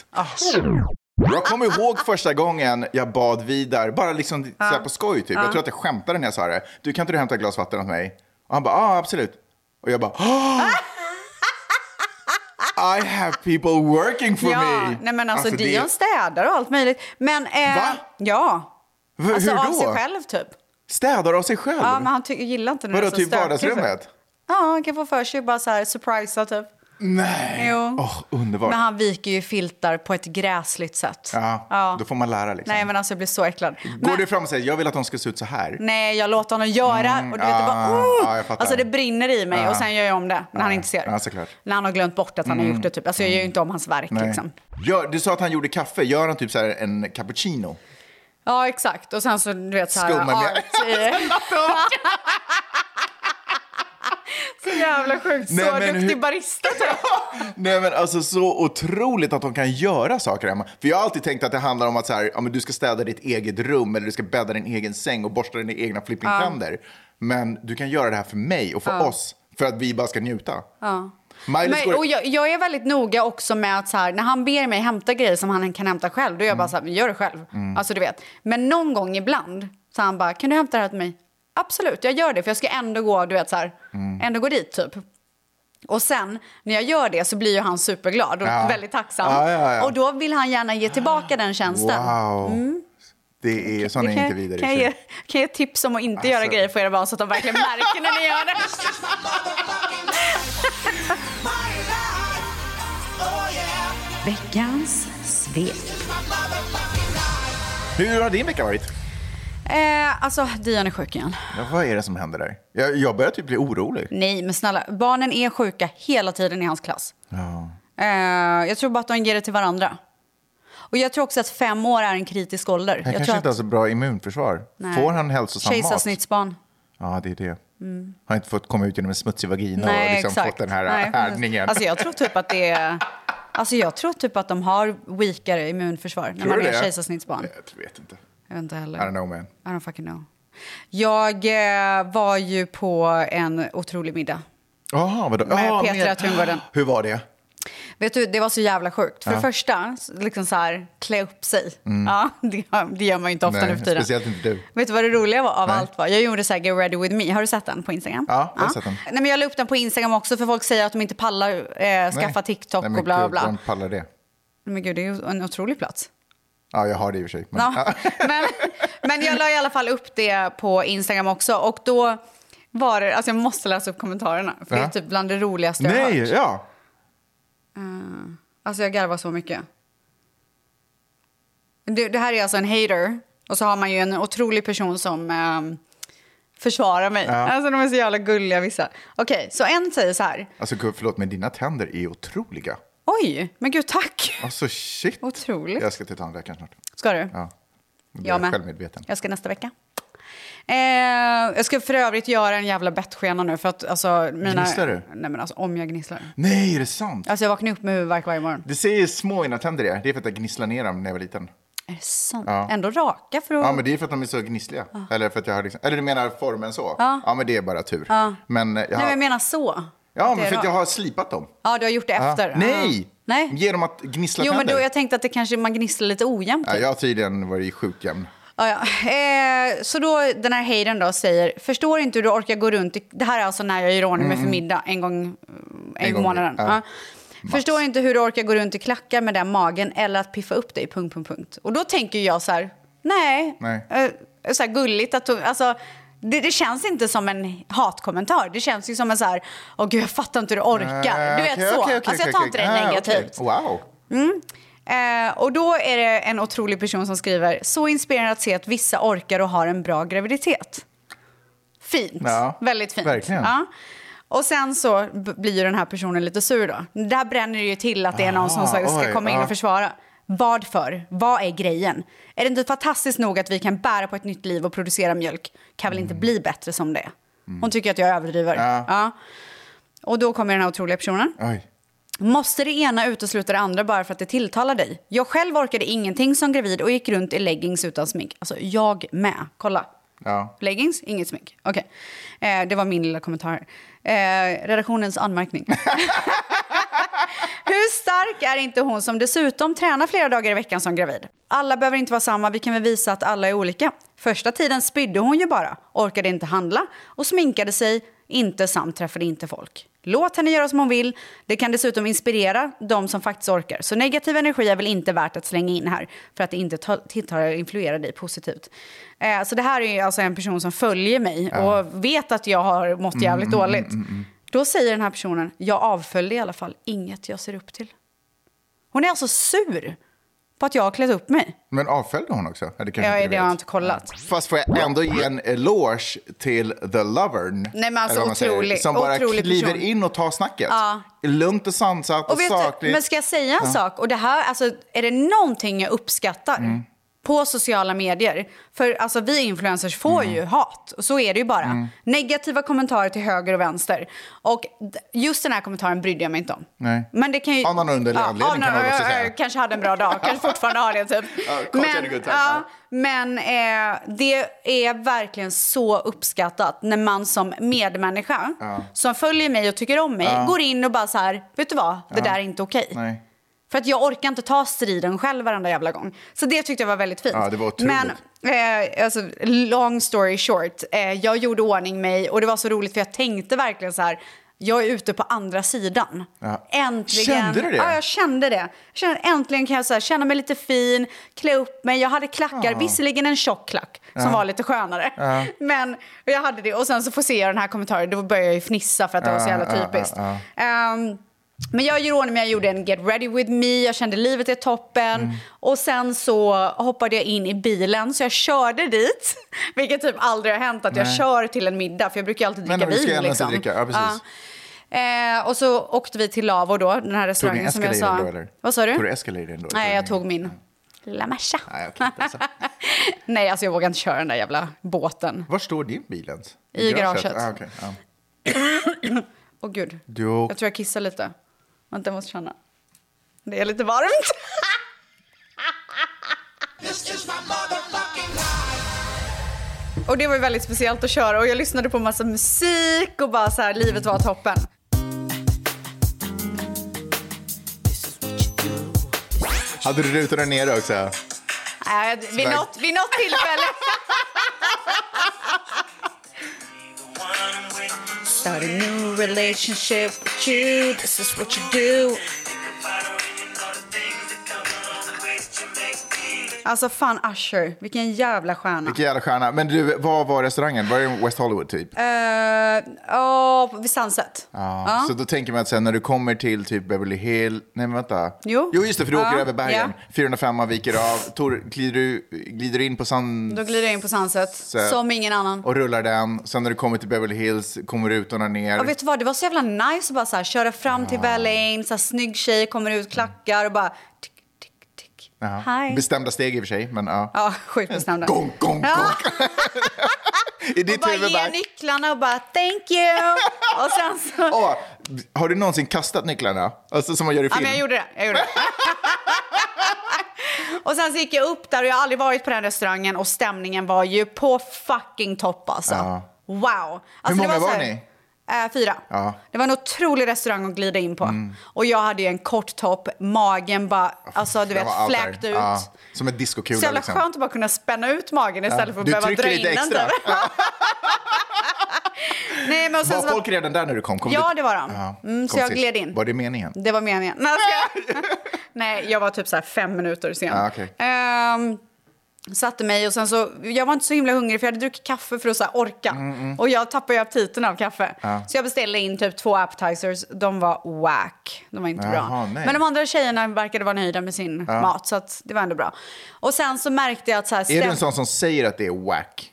[SPEAKER 4] Jag kommer ihåg första gången jag bad Vidar, bara liksom så här på skoj typ. Jag tror att jag skämtade när jag sa det. Du kan inte du hämta ett glas vatten åt mig? Och han bara, ja ah, absolut. Och jag bara, "Ah, I have people working for
[SPEAKER 5] ja,
[SPEAKER 4] me.
[SPEAKER 5] nej men alltså,
[SPEAKER 4] det-
[SPEAKER 5] Dion städar och allt möjligt. Men, eh,
[SPEAKER 4] Va?
[SPEAKER 5] Ja.
[SPEAKER 4] V-
[SPEAKER 5] Alltså
[SPEAKER 4] hur
[SPEAKER 5] av
[SPEAKER 4] då?
[SPEAKER 5] sig själv typ.
[SPEAKER 4] Städar av sig själv?
[SPEAKER 5] Ja men han ty- gillar inte när det
[SPEAKER 4] Vadå,
[SPEAKER 5] är så
[SPEAKER 4] typ
[SPEAKER 5] stökigt.
[SPEAKER 4] vardagsrummet?
[SPEAKER 5] Ja, han kan få för sig bara så här surprisa typ.
[SPEAKER 4] Nej.
[SPEAKER 5] Jo.
[SPEAKER 4] Åh, underbart.
[SPEAKER 5] Men han viker ju filtar på ett gräsligt sätt.
[SPEAKER 4] Ja, då får man lära liksom.
[SPEAKER 5] Nej, men alltså jag blir så äcklad.
[SPEAKER 4] Går
[SPEAKER 5] Men,
[SPEAKER 4] du fram och säger, jag vill att de ska se ut så här?
[SPEAKER 5] Nej, jag låter honom göra och du vet, det bara,
[SPEAKER 4] ah,
[SPEAKER 5] oh!
[SPEAKER 4] ja, jag fattar.
[SPEAKER 5] Alltså det brinner i mig
[SPEAKER 4] Ja.
[SPEAKER 5] och sen gör jag om det när han inte ser.
[SPEAKER 4] ja, såklart. Mm.
[SPEAKER 5] När han har glömt bort att han har gjort det typ. Alltså jag gör ju inte om hans verk
[SPEAKER 4] Nej.
[SPEAKER 5] liksom.
[SPEAKER 4] Gör, du sa att han gjorde kaffe, gör han typ så här en cappuccino?
[SPEAKER 5] Ja, exakt. Och sen så du vet så här
[SPEAKER 4] Skummar ner.
[SPEAKER 5] art i... Så jävla sjukt. Så
[SPEAKER 4] Nej, men
[SPEAKER 5] duktig
[SPEAKER 4] hur-
[SPEAKER 5] barista typ.
[SPEAKER 4] Nej men alltså så otroligt att de kan göra saker hemma. För jag har alltid tänkt att det handlar om att så här, ja, men du ska städa ditt eget rum eller du ska bädda din egen säng och borsta dina egna flippingtänder. Men du kan göra det här för mig och för oss för att vi bara ska njuta. Ja. Miley
[SPEAKER 5] Men,
[SPEAKER 4] går...
[SPEAKER 5] och jag, jag är väldigt noga också med att så här, när han ber mig hämta grejer som han kan hämta själv, då är jag bara så här, "Men gör det själv.
[SPEAKER 4] Mm.
[SPEAKER 5] Alltså du vet. Men någon gång ibland så han bara, kan du hämta det här till mig? Absolut, jag gör det för jag ska ändå gå, du vet så här,
[SPEAKER 4] Mm.
[SPEAKER 5] ändå gå dit typ. Och sen när jag gör det så blir ju han superglad och
[SPEAKER 4] Ja.
[SPEAKER 5] väldigt tacksam.
[SPEAKER 4] Ja, ja, ja.
[SPEAKER 5] Och då vill han gärna ge tillbaka den tjänsten.
[SPEAKER 4] Wow. Det är sådana
[SPEAKER 5] Det Mm. kan,
[SPEAKER 4] inte vidare. Alltså.
[SPEAKER 5] kan, jag ge, kan jag ge tips om att inte göra grejer för era barn så att de verkligen märker när ni gör det?
[SPEAKER 6] Oh,
[SPEAKER 7] Veckans svep.
[SPEAKER 4] Hur har din vecka varit?
[SPEAKER 5] Eh, alltså, Dion är sjuk igen.
[SPEAKER 4] Ja, vad är det som händer där? Jag, jag börjar typ bli orolig.
[SPEAKER 5] Nej, men snälla. Barnen är sjuka hela tiden i hans klass.
[SPEAKER 4] Ja.
[SPEAKER 5] Eh, jag tror bara att de ger det till varandra. Och jag tror också att fem år är en kritisk ålder.
[SPEAKER 4] Han
[SPEAKER 5] jag
[SPEAKER 4] kanske
[SPEAKER 5] tror
[SPEAKER 4] inte har så bra immunförsvar.
[SPEAKER 5] Nej.
[SPEAKER 4] Får han hälsosam mat?
[SPEAKER 5] Kejsarsnittsbarn.
[SPEAKER 4] Ja, det är det. Har inte fått komma ut genom en smutsig vagina och
[SPEAKER 5] Mm. Nej,
[SPEAKER 4] liksom
[SPEAKER 5] exakt.
[SPEAKER 4] fått den här
[SPEAKER 5] Nej, precis.
[SPEAKER 4] härdningen.
[SPEAKER 5] Alltså jag tror typ att det är... Alltså jag tror typ att de har weakare immunförsvar när
[SPEAKER 4] Tror
[SPEAKER 5] man
[SPEAKER 4] du
[SPEAKER 5] är
[SPEAKER 4] det?
[SPEAKER 5] kejsarsnittsbarn.
[SPEAKER 4] Jag vet inte.
[SPEAKER 5] Jag vet inte heller.
[SPEAKER 4] I don't know man.
[SPEAKER 5] I don't fucking know. Jag eh, var ju på en otrolig middag.
[SPEAKER 4] Jaha, vadå?
[SPEAKER 5] Med
[SPEAKER 4] Ah,
[SPEAKER 5] Petra
[SPEAKER 4] men-
[SPEAKER 5] Tungården.
[SPEAKER 4] Hur var det?
[SPEAKER 5] Vet du, det var så jävla sjukt. För det första, liksom så här, klä upp sig. Ja, det, gör- det gör man ju inte ofta
[SPEAKER 4] Mm. Nej,
[SPEAKER 5] nu för tiden.
[SPEAKER 4] speciellt inte du.
[SPEAKER 5] Vet du vad det roliga var av
[SPEAKER 4] Nej.
[SPEAKER 5] allt var? Jag gjorde så här, Get ready with me. Har du sett den på Instagram?
[SPEAKER 4] Ja, jag har sett den.
[SPEAKER 5] Nej, men jag la upp den på Instagram också för folk säger att de inte pallar eh, skaffa
[SPEAKER 4] Nej.
[SPEAKER 5] TikTok
[SPEAKER 4] Nej, men
[SPEAKER 5] och bla bla
[SPEAKER 4] gud,
[SPEAKER 5] bla.
[SPEAKER 4] Vem pallar det?
[SPEAKER 5] Men gud, det är ju en otrolig plats.
[SPEAKER 4] Ja, jag har det i och för sig. Men,
[SPEAKER 5] Ja. Men, men jag la i alla fall upp det på Instagram också. Och då var det, alltså jag måste läsa upp kommentarerna. För
[SPEAKER 4] Ja.
[SPEAKER 5] det är typ bland det roligaste jag har
[SPEAKER 4] Nej,
[SPEAKER 5] hört.
[SPEAKER 4] ja.
[SPEAKER 5] Alltså jag garvar så mycket. Det, det här är alltså en hater. Och så har man ju en otrolig person som ehm, försvarar mig. Alltså de är så jävla gulliga vissa. Okej, så en säger så här.
[SPEAKER 4] Alltså gud, förlåt, men dina tänder är otroliga.
[SPEAKER 5] Oj, men gud tack.
[SPEAKER 4] Alltså shit.
[SPEAKER 5] Otroligt.
[SPEAKER 4] Jag ska till tandläkaren snart.
[SPEAKER 5] Ska du?
[SPEAKER 4] Ja. Nu blir
[SPEAKER 5] Jag med.
[SPEAKER 4] Självmedveten.
[SPEAKER 5] Jag ska nästa vecka. Eh, jag ska för övrigt göra en jävla bettskena nu. För att, alltså, mina...
[SPEAKER 4] Gnisslar du?
[SPEAKER 5] Nej men alltså om jag gnisslar.
[SPEAKER 4] Nej, är det sant?
[SPEAKER 5] Alltså jag vaknar upp med huvudvärk varje morgon.
[SPEAKER 4] Det ser ju små mina tänder är. Det är för att jag gnisslade ner dem när jag var liten.
[SPEAKER 5] Är det sant?
[SPEAKER 4] Ja.
[SPEAKER 5] Ändå raka för att...
[SPEAKER 4] Ja, men det är för att de är så gnissliga. Eller, för att jag har liksom, eller du menar formen så? Ja. men det är bara tur. Men eh, jag har,
[SPEAKER 5] Nej men jag menar så.
[SPEAKER 4] ja,
[SPEAKER 5] Att det
[SPEAKER 4] men
[SPEAKER 5] är
[SPEAKER 4] för att jag
[SPEAKER 5] rakt.
[SPEAKER 4] har slipat dem.
[SPEAKER 5] Ja, du har gjort det
[SPEAKER 4] Ja.
[SPEAKER 5] efter.
[SPEAKER 4] Nej!
[SPEAKER 5] Ja. Nej.
[SPEAKER 4] Genom att gnissla
[SPEAKER 5] Jo, men
[SPEAKER 4] tänder.
[SPEAKER 5] då, jag tänkte att det kanske man gnisslar lite ojämnt.
[SPEAKER 4] ja,
[SPEAKER 5] typ.
[SPEAKER 4] jag har tydligen varit sjukt jämn.
[SPEAKER 5] Ja, ja. Eh, så då den här Hayden då säger, förstår inte hur du orkar gå runt. i-" Det här är alltså när jag gör ordning mig för middag en gång eh, en,
[SPEAKER 4] Mm. En
[SPEAKER 5] gång i
[SPEAKER 4] gång,
[SPEAKER 5] månaden.
[SPEAKER 4] ja.
[SPEAKER 5] Ja. Förstår inte hur du orkar gå runt i klackar med den magen eller att piffa upp dig, punkt, punkt, punkt. Och då tänker jag så här, nej,
[SPEAKER 4] Nej.
[SPEAKER 5] Eh, så här gulligt att hon, alltså, det, det känns inte som en hatkommentar. Det känns ju som en så här, åh gud jag fattar inte hur du orkar. Du vet
[SPEAKER 4] Eh, Okej,
[SPEAKER 5] så.
[SPEAKER 4] okej, okej,
[SPEAKER 5] alltså jag tar
[SPEAKER 4] okej,
[SPEAKER 5] inte
[SPEAKER 4] okej.
[SPEAKER 5] det
[SPEAKER 4] Ah,
[SPEAKER 5] negativt.
[SPEAKER 4] okej. Wow.
[SPEAKER 5] Mm. Eh, och då är det en otrolig person som skriver så inspirerande att se att vissa orkar och har en bra graviditet. Fint.
[SPEAKER 4] Ja,
[SPEAKER 5] Väldigt fint.
[SPEAKER 4] verkligen.
[SPEAKER 5] Ja. Och sen så b- blir ju den här personen lite sur då. Där bränner det ju till att det är någon som
[SPEAKER 4] Ah,
[SPEAKER 5] ska, ska
[SPEAKER 4] oj,
[SPEAKER 5] komma in
[SPEAKER 4] ja.
[SPEAKER 5] och försvara. Vad för? Vad är grejen? Är det inte fantastiskt nog att vi kan bära på ett nytt liv och producera mjölk? Kan väl inte bli bättre som det är? Hon tycker att jag överdriver.
[SPEAKER 4] Mm. Ja.
[SPEAKER 5] Ja. Och då kommer den här otroliga personen.
[SPEAKER 4] Oj.
[SPEAKER 5] Måste det ena utesluta det andra bara för att det tilltalar dig? Jag själv orkade ingenting som gravid och gick runt i leggings utan smink. Alltså, jag med. Kolla.
[SPEAKER 4] Ja.
[SPEAKER 5] Leggings, inget smink. Okej. Eh, det var min lilla kommentar. här. Eh, redaktionens anmärkning. Hur stark är inte hon som dessutom tränar flera dagar i veckan som gravid? Alla behöver inte vara samma, vi kan väl visa att alla är olika. Första tiden spydde hon ju bara, orkade inte handla och sminkade sig inte samt träffade inte folk. Låt henne göra som hon vill. Det kan dessutom inspirera de som faktiskt orkar. Så negativ energi är väl inte värt att slänga in här för att det inte ta- tilltar eller influerar dig positivt. Eh, så det här är ju alltså en person som följer mig och vet att jag har mått jävligt dåligt. Då säger den här personen, jag avföljde i alla fall inget jag ser upp till. Hon är alltså sur på att jag har klätt upp mig.
[SPEAKER 4] Men avföljde hon också? Ja, det, kanske inte
[SPEAKER 5] Jag, är-
[SPEAKER 4] du
[SPEAKER 5] det
[SPEAKER 4] vet.
[SPEAKER 5] har jag inte kollat.
[SPEAKER 4] Fast får jag ändå ge en eloge till The Lovern.
[SPEAKER 5] Nej, men alltså
[SPEAKER 4] eller vad man säger,
[SPEAKER 5] otrolig-
[SPEAKER 4] Som bara
[SPEAKER 5] otrolig
[SPEAKER 4] kliver
[SPEAKER 5] person.
[SPEAKER 4] in och tar snacket. Lugnt och sansat och,
[SPEAKER 5] Och vet du,
[SPEAKER 4] sakligt.
[SPEAKER 5] men ska jag säga en sak? Och det här, alltså, är det någonting jag uppskattar
[SPEAKER 4] Mm.
[SPEAKER 5] på sociala medier? För alltså, vi influencers får
[SPEAKER 4] Mm.
[SPEAKER 5] ju hat, och så är det ju bara. Negativa kommentarer till höger och vänster. Och d- just den här kommentaren brydde jag mig inte om.
[SPEAKER 4] Nej.
[SPEAKER 5] Men det kan ju...
[SPEAKER 4] Av någon underlig anledning
[SPEAKER 5] av någon-
[SPEAKER 4] kan man väl också
[SPEAKER 5] jag- jag
[SPEAKER 4] säga.
[SPEAKER 5] Kanske hade en bra dag, kanske fortfarande har det typ.
[SPEAKER 4] Ja, coach had a good time.
[SPEAKER 5] ja, men eh, det är verkligen så uppskattat när man som medmänniska som följer mig och tycker om mig går in och bara så här, vet du vad, det där är inte okej.
[SPEAKER 4] Nej.
[SPEAKER 5] För att jag orkar inte ta striden själv varenda jävla gång. Så det tyckte jag var väldigt fint.
[SPEAKER 4] Ja, det var otroligt.
[SPEAKER 5] men eh, alltså, long story short, eh, jag gjorde ordning mig och det var så roligt för jag tänkte verkligen så här, jag är ute på andra sidan.
[SPEAKER 4] Ja.
[SPEAKER 5] Äntligen.
[SPEAKER 4] Kände du det?
[SPEAKER 5] Ja, jag kände det. Jag kände, äntligen kan jag så här, känna mig lite fin, klä upp mig. Jag hade klackar, visserligen en tjock klack som var lite skönare. Men jag hade det. Och sen så får se jag den här kommentaren, då börjar jag ju fnissa för att det var så jävla
[SPEAKER 4] Ja, ja,
[SPEAKER 5] typiskt.
[SPEAKER 4] ja,
[SPEAKER 5] Ehm, men jag gjorde ordning, men jag gjorde en get ready with me, jag kände livet är toppen.
[SPEAKER 4] Mm.
[SPEAKER 5] Och sen så hoppade jag in i bilen, så jag körde dit. Vilket typ aldrig har hänt att jag kör till en middag, för jag brukar ju alltid
[SPEAKER 4] Men
[SPEAKER 5] dricka
[SPEAKER 4] du ska
[SPEAKER 5] vin.
[SPEAKER 4] gärna
[SPEAKER 5] Liksom.
[SPEAKER 4] dricka, ja, precis.
[SPEAKER 5] Eh, och så åkte vi till Lavo då, den här
[SPEAKER 4] Tog ni
[SPEAKER 5] restaurangen som jag
[SPEAKER 4] Escalade
[SPEAKER 5] sa.
[SPEAKER 4] ändå eller?
[SPEAKER 5] Vad sa du?
[SPEAKER 4] Tog du Escalade ändå?
[SPEAKER 5] Nej, jag tog min La Merca.
[SPEAKER 4] Nej, okej, alltså.
[SPEAKER 5] Nej, alltså jag vågar inte köra den där jävla båten.
[SPEAKER 4] Var står din bil ens?
[SPEAKER 5] I garaget.
[SPEAKER 4] Ah, okej, ja.
[SPEAKER 5] Åh gud,
[SPEAKER 4] Du har
[SPEAKER 5] jag
[SPEAKER 4] åkt
[SPEAKER 5] tror jag kissar lite. Vänta, jag måste känna. Det är lite varmt. Och det var ju väldigt speciellt att köra och jag lyssnade på massa musik och bara så här, livet var toppen.
[SPEAKER 4] Hade du rutorna nere också?
[SPEAKER 5] Äh, vid, något, vid något tillfälle. Start a new relationship with you, this is what you do. Alltså fan Usher, vilken jävla stjärna.
[SPEAKER 4] Vilken jävla stjärna. Men du, vad var restaurangen? Var det West Hollywood typ?
[SPEAKER 5] Eh, Ja, vid Sunset.
[SPEAKER 4] Ja, Ah, Så då tänker man att sen när du kommer till typ Beverly Hill, nej men vänta.
[SPEAKER 5] Jo.
[SPEAKER 4] just det, för du
[SPEAKER 5] Ja,
[SPEAKER 4] åker över bergen.
[SPEAKER 5] ja.
[SPEAKER 4] 405 viker av, tor, glider, du, glider in på sand
[SPEAKER 5] Då glider jag in på Sunset,
[SPEAKER 4] Så-
[SPEAKER 5] som ingen annan.
[SPEAKER 4] och rullar den. Sen när du kommer till Beverly Hills kommer rutorna ner.
[SPEAKER 5] Ja, vet du vad? Det var så jävla nice att bara så här, köra fram till Vällingn, så här, snygg tjej, kommer ut, klackar och bara tick, tick, tick.
[SPEAKER 4] Ja.
[SPEAKER 5] Hi.
[SPEAKER 4] Bestämda steg i och för sig, men ja.
[SPEAKER 5] Ja, sjukt bestämda.
[SPEAKER 4] Gong, gong, gong.
[SPEAKER 5] Ja.
[SPEAKER 4] I
[SPEAKER 5] Och
[SPEAKER 4] ditt
[SPEAKER 5] bara
[SPEAKER 4] huvud
[SPEAKER 5] ge
[SPEAKER 4] bara...
[SPEAKER 5] nycklarna och bara thank you. Och sen så...
[SPEAKER 4] Åh, har du någonsin kastat nycklarna? Alltså som man gör i
[SPEAKER 5] Ja,
[SPEAKER 4] film?
[SPEAKER 5] men jag gjorde det. Jag gjorde det. och sen så gick jag upp där och jag har aldrig varit på den restaurangen och stämningen var ju på fucking topp alltså.
[SPEAKER 4] Ja.
[SPEAKER 5] Wow. Alltså,
[SPEAKER 4] Hur många
[SPEAKER 5] så
[SPEAKER 4] var
[SPEAKER 5] här-
[SPEAKER 4] ni?
[SPEAKER 5] Eh, fyra.
[SPEAKER 4] Ja. Mm.
[SPEAKER 5] Det var en otrolig restaurang att glida in på. Och jag hade ju en kort topp, magen bara, alltså du
[SPEAKER 4] Det
[SPEAKER 5] vet,
[SPEAKER 4] var allt där.
[SPEAKER 5] fläkt ut.
[SPEAKER 4] Ja, som en discokula.
[SPEAKER 5] Så jävla
[SPEAKER 4] liksom.
[SPEAKER 5] skönt att bara kunna spänna ut magen istället för att
[SPEAKER 4] Du
[SPEAKER 5] behöva
[SPEAKER 4] trycker
[SPEAKER 5] dra in
[SPEAKER 4] lite
[SPEAKER 5] den.
[SPEAKER 4] extra.
[SPEAKER 5] typ. Nej, men och sen
[SPEAKER 4] Var
[SPEAKER 5] så var
[SPEAKER 4] folk redan där när du kom? kom
[SPEAKER 5] Alltså, Ja,
[SPEAKER 4] du...
[SPEAKER 5] det var de. Mm, så
[SPEAKER 4] Kom
[SPEAKER 5] jag
[SPEAKER 4] sist.
[SPEAKER 5] gled in.
[SPEAKER 4] Var det meningen?
[SPEAKER 5] Det var meningen. Nej, jag ska... Nej, jag var typ så här fem minuter sen.
[SPEAKER 4] Ah, okej.
[SPEAKER 5] Ehm, satte mig och sen så, jag var inte så himla hungrig för jag hade druckit kaffe för att så här orka.
[SPEAKER 4] Mm,
[SPEAKER 5] Och jag tappade ju aptiten av kaffe.
[SPEAKER 4] Ah.
[SPEAKER 5] Så jag beställde in typ två appetizers. De var whack. De var inte bra.
[SPEAKER 4] Jaha, nej. Ah.
[SPEAKER 5] Men de andra tjejerna verkade vara nöjda med sin mat så att det var ändå bra. Och sen så märkte jag att så här,
[SPEAKER 4] Är du
[SPEAKER 5] stäm-
[SPEAKER 4] en sån som säger att det är whack?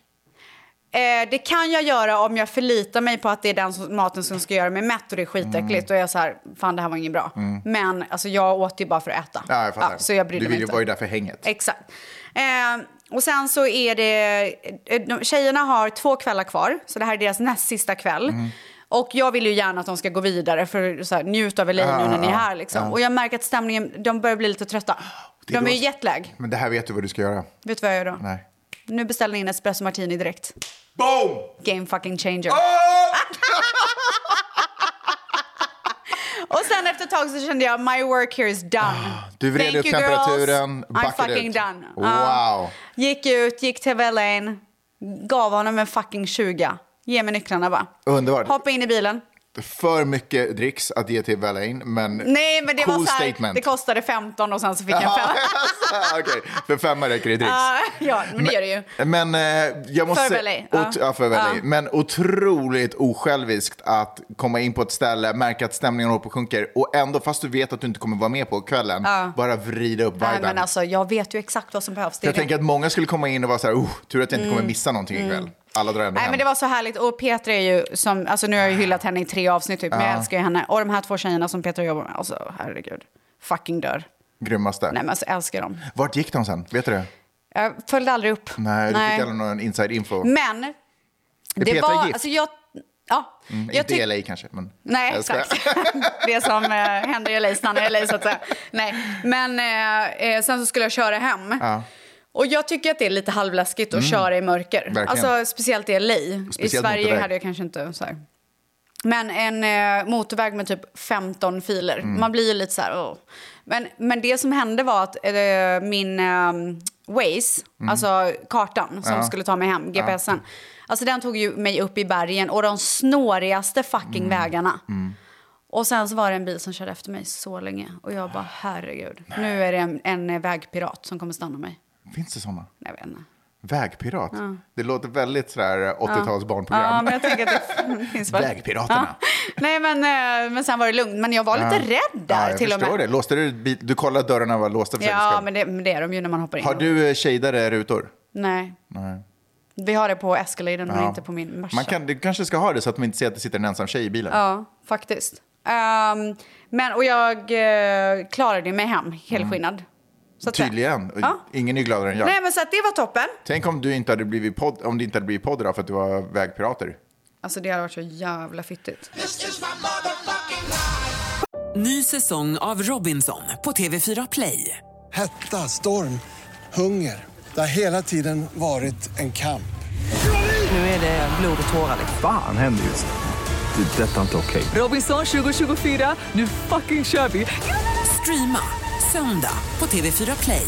[SPEAKER 5] Eh, det kan jag göra om jag förlitar mig på att det är den som, maten som ska göra mig mätt och det är skitäckligt.
[SPEAKER 4] Mm.
[SPEAKER 5] Då är jag så här, fan det här var inget bra. Men alltså, jag åt ju bara för att äta.
[SPEAKER 4] Ja, jag fattar.
[SPEAKER 5] så jag brydde
[SPEAKER 4] du
[SPEAKER 5] mig
[SPEAKER 4] ju-
[SPEAKER 5] inte.
[SPEAKER 4] var ju där för hänget.
[SPEAKER 5] Exakt. Eh, och sen så är det, eh, de, tjejerna har två kvällar kvar, så det här är deras näst sista kväll.
[SPEAKER 4] Mm.
[SPEAKER 5] Och jag vill ju gärna att de ska gå vidare för så här, njut av LA nu när ni är här liksom. Och jag märker att stämningen, de börjar bli lite trötta.
[SPEAKER 4] Det är
[SPEAKER 5] De
[SPEAKER 4] då-
[SPEAKER 5] är ju jetlag.
[SPEAKER 4] Men det här vet du vad du ska göra.
[SPEAKER 5] Vet du vad jag gör då?
[SPEAKER 4] Nej.
[SPEAKER 5] Nu beställer jag in espresso martini direkt.
[SPEAKER 4] Boom!
[SPEAKER 5] Game fucking changer.
[SPEAKER 4] Ah!
[SPEAKER 5] Och sen efter ett tag så kände jag my work here is done.
[SPEAKER 4] Ah, Du vred
[SPEAKER 5] Thank
[SPEAKER 4] upp
[SPEAKER 5] you, girls.
[SPEAKER 4] temperaturen,
[SPEAKER 5] I'm
[SPEAKER 4] backade
[SPEAKER 5] fucking
[SPEAKER 4] ut.
[SPEAKER 5] done.
[SPEAKER 4] Wow.
[SPEAKER 5] Ja. gick ut, gick till Velaine, gav honom en fucking 20. Ge mig nycklarna bara.
[SPEAKER 4] Underbart.
[SPEAKER 5] Hoppa in i bilen.
[SPEAKER 4] För mycket dricks att ge till Valaine, men
[SPEAKER 5] Nej men det
[SPEAKER 4] cool
[SPEAKER 5] var så här,
[SPEAKER 4] statement.
[SPEAKER 5] det kostade 15 och sen så fick jag en
[SPEAKER 4] Ja,
[SPEAKER 5] femma.
[SPEAKER 4] alltså, Okej, för femma räcker det dricks.
[SPEAKER 5] Ah, ja, men det gör det ju.
[SPEAKER 4] Men eh, jag måste
[SPEAKER 5] För
[SPEAKER 4] säga-
[SPEAKER 5] Valet, ja.
[SPEAKER 4] Ot- ja, för Valet.
[SPEAKER 5] Ja.
[SPEAKER 4] Men otroligt osjälviskt att komma in på ett ställe, märka att stämningen håller på och sjunker och ändå, fast du vet att du inte kommer vara med på kvällen, bara vrida upp
[SPEAKER 5] Nej
[SPEAKER 4] viben.
[SPEAKER 5] men alltså jag vet ju exakt vad som behövs. Det är
[SPEAKER 4] jag
[SPEAKER 5] det. Mm.
[SPEAKER 4] tänker att många skulle komma in och vara så här, oh, tur att jag inte kommer missa någonting ikväll. Alla drar ändå
[SPEAKER 5] Nej
[SPEAKER 4] hem.
[SPEAKER 5] men det var så härligt och Petra är ju som, alltså nu har jag ju hyllat henne i tre avsnitt typ,
[SPEAKER 4] Ah.
[SPEAKER 5] men jag älskar ju henne. Och de här två tjejerna som Petra jobbar med, alltså herregud. Fucking dör.
[SPEAKER 4] Grymmaste.
[SPEAKER 5] Nej men alltså jag älskar dem.
[SPEAKER 4] Vart gick de sen? Vet du det?
[SPEAKER 5] Jag följde aldrig upp.
[SPEAKER 4] Nej, du fick aldrig någon inside info.
[SPEAKER 5] Men
[SPEAKER 4] Är
[SPEAKER 5] det
[SPEAKER 4] Petra
[SPEAKER 5] var...
[SPEAKER 4] gift?
[SPEAKER 5] Alltså jag, ja, jag
[SPEAKER 4] inte
[SPEAKER 5] tyck-
[SPEAKER 4] LA kanske, men...
[SPEAKER 5] Nej,
[SPEAKER 4] Jag skojar.
[SPEAKER 5] exakt. Det som eh, händer i LA stannar i LA, så att säga. Nej. Men eh, eh, sen så skulle jag köra hem.
[SPEAKER 4] Ja. Mm.
[SPEAKER 5] Och jag tycker att det är lite halvläskigt att köra i mörker.
[SPEAKER 4] Verkligen.
[SPEAKER 5] Alltså speciellt i LA. I
[SPEAKER 4] Speciellt
[SPEAKER 5] Sverige
[SPEAKER 4] motorväg.
[SPEAKER 5] hade jag kanske inte så här. Men en eh, motorväg med typ 15 filer. Man blir ju lite så här... Åh. Men, men det som hände var att eh, min eh, Waze, alltså kartan som skulle ta mig hem, GPSen. Alltså den tog ju mig upp i bergen och de snårigaste fucking vägarna. Och sen så var det en bil som körde efter mig så länge. Och jag bara, herregud. Nu är det en, en eh, vägpirat som kommer stanna mig.
[SPEAKER 4] Finns det sådana?
[SPEAKER 5] Nej, jag vet inte.
[SPEAKER 4] Vägpirat? Det låter väldigt eh, sådär 80-tals barnprogram.
[SPEAKER 5] Ja, men jag tänker att det finns väl.
[SPEAKER 4] Vägpiraterna.
[SPEAKER 5] Nej, men, eh, men sen var det lugnt. Men jag var lite rädd där
[SPEAKER 4] Ja, jag
[SPEAKER 5] till och med.
[SPEAKER 4] förstår det. Låste du, bil- du kollade dörrarna var låsta för säkerhets
[SPEAKER 5] Ja,
[SPEAKER 4] skull.
[SPEAKER 5] men det, men det är de ju när man hoppar in.
[SPEAKER 4] Har du eh, shadade rutor?
[SPEAKER 5] Nej. Vi har det på Escaladen men inte på min Merca.
[SPEAKER 4] Man kan, du kanske ska ha det så att man inte ser att det sitter en ensam tjej i bilen.
[SPEAKER 5] Ja, faktiskt. Ehm, men, och jag eh, klarade mig hem helskinnad.
[SPEAKER 4] Mm.
[SPEAKER 5] Så att säga.
[SPEAKER 4] Tydligen.
[SPEAKER 5] Ja.
[SPEAKER 4] Ingen är gladare än jag.
[SPEAKER 5] Nej, men så att det var toppen.
[SPEAKER 4] Tänk om du inte hade blivit podd, om det inte hade blivit podd idag för att du var vägpirater.
[SPEAKER 5] Alltså det hade varit så jävla fittigt.
[SPEAKER 1] Ny säsong av Robinson på TV4 Play.
[SPEAKER 2] Hetta, storm, hunger. Det har hela tiden varit en kamp.
[SPEAKER 1] Nu är det blod och tårar. liksom.
[SPEAKER 3] Fan händer just det. Det är detta inte okej.
[SPEAKER 1] Robinson 2024, nu fucking kör vi! Streama söndag på TV4 Play.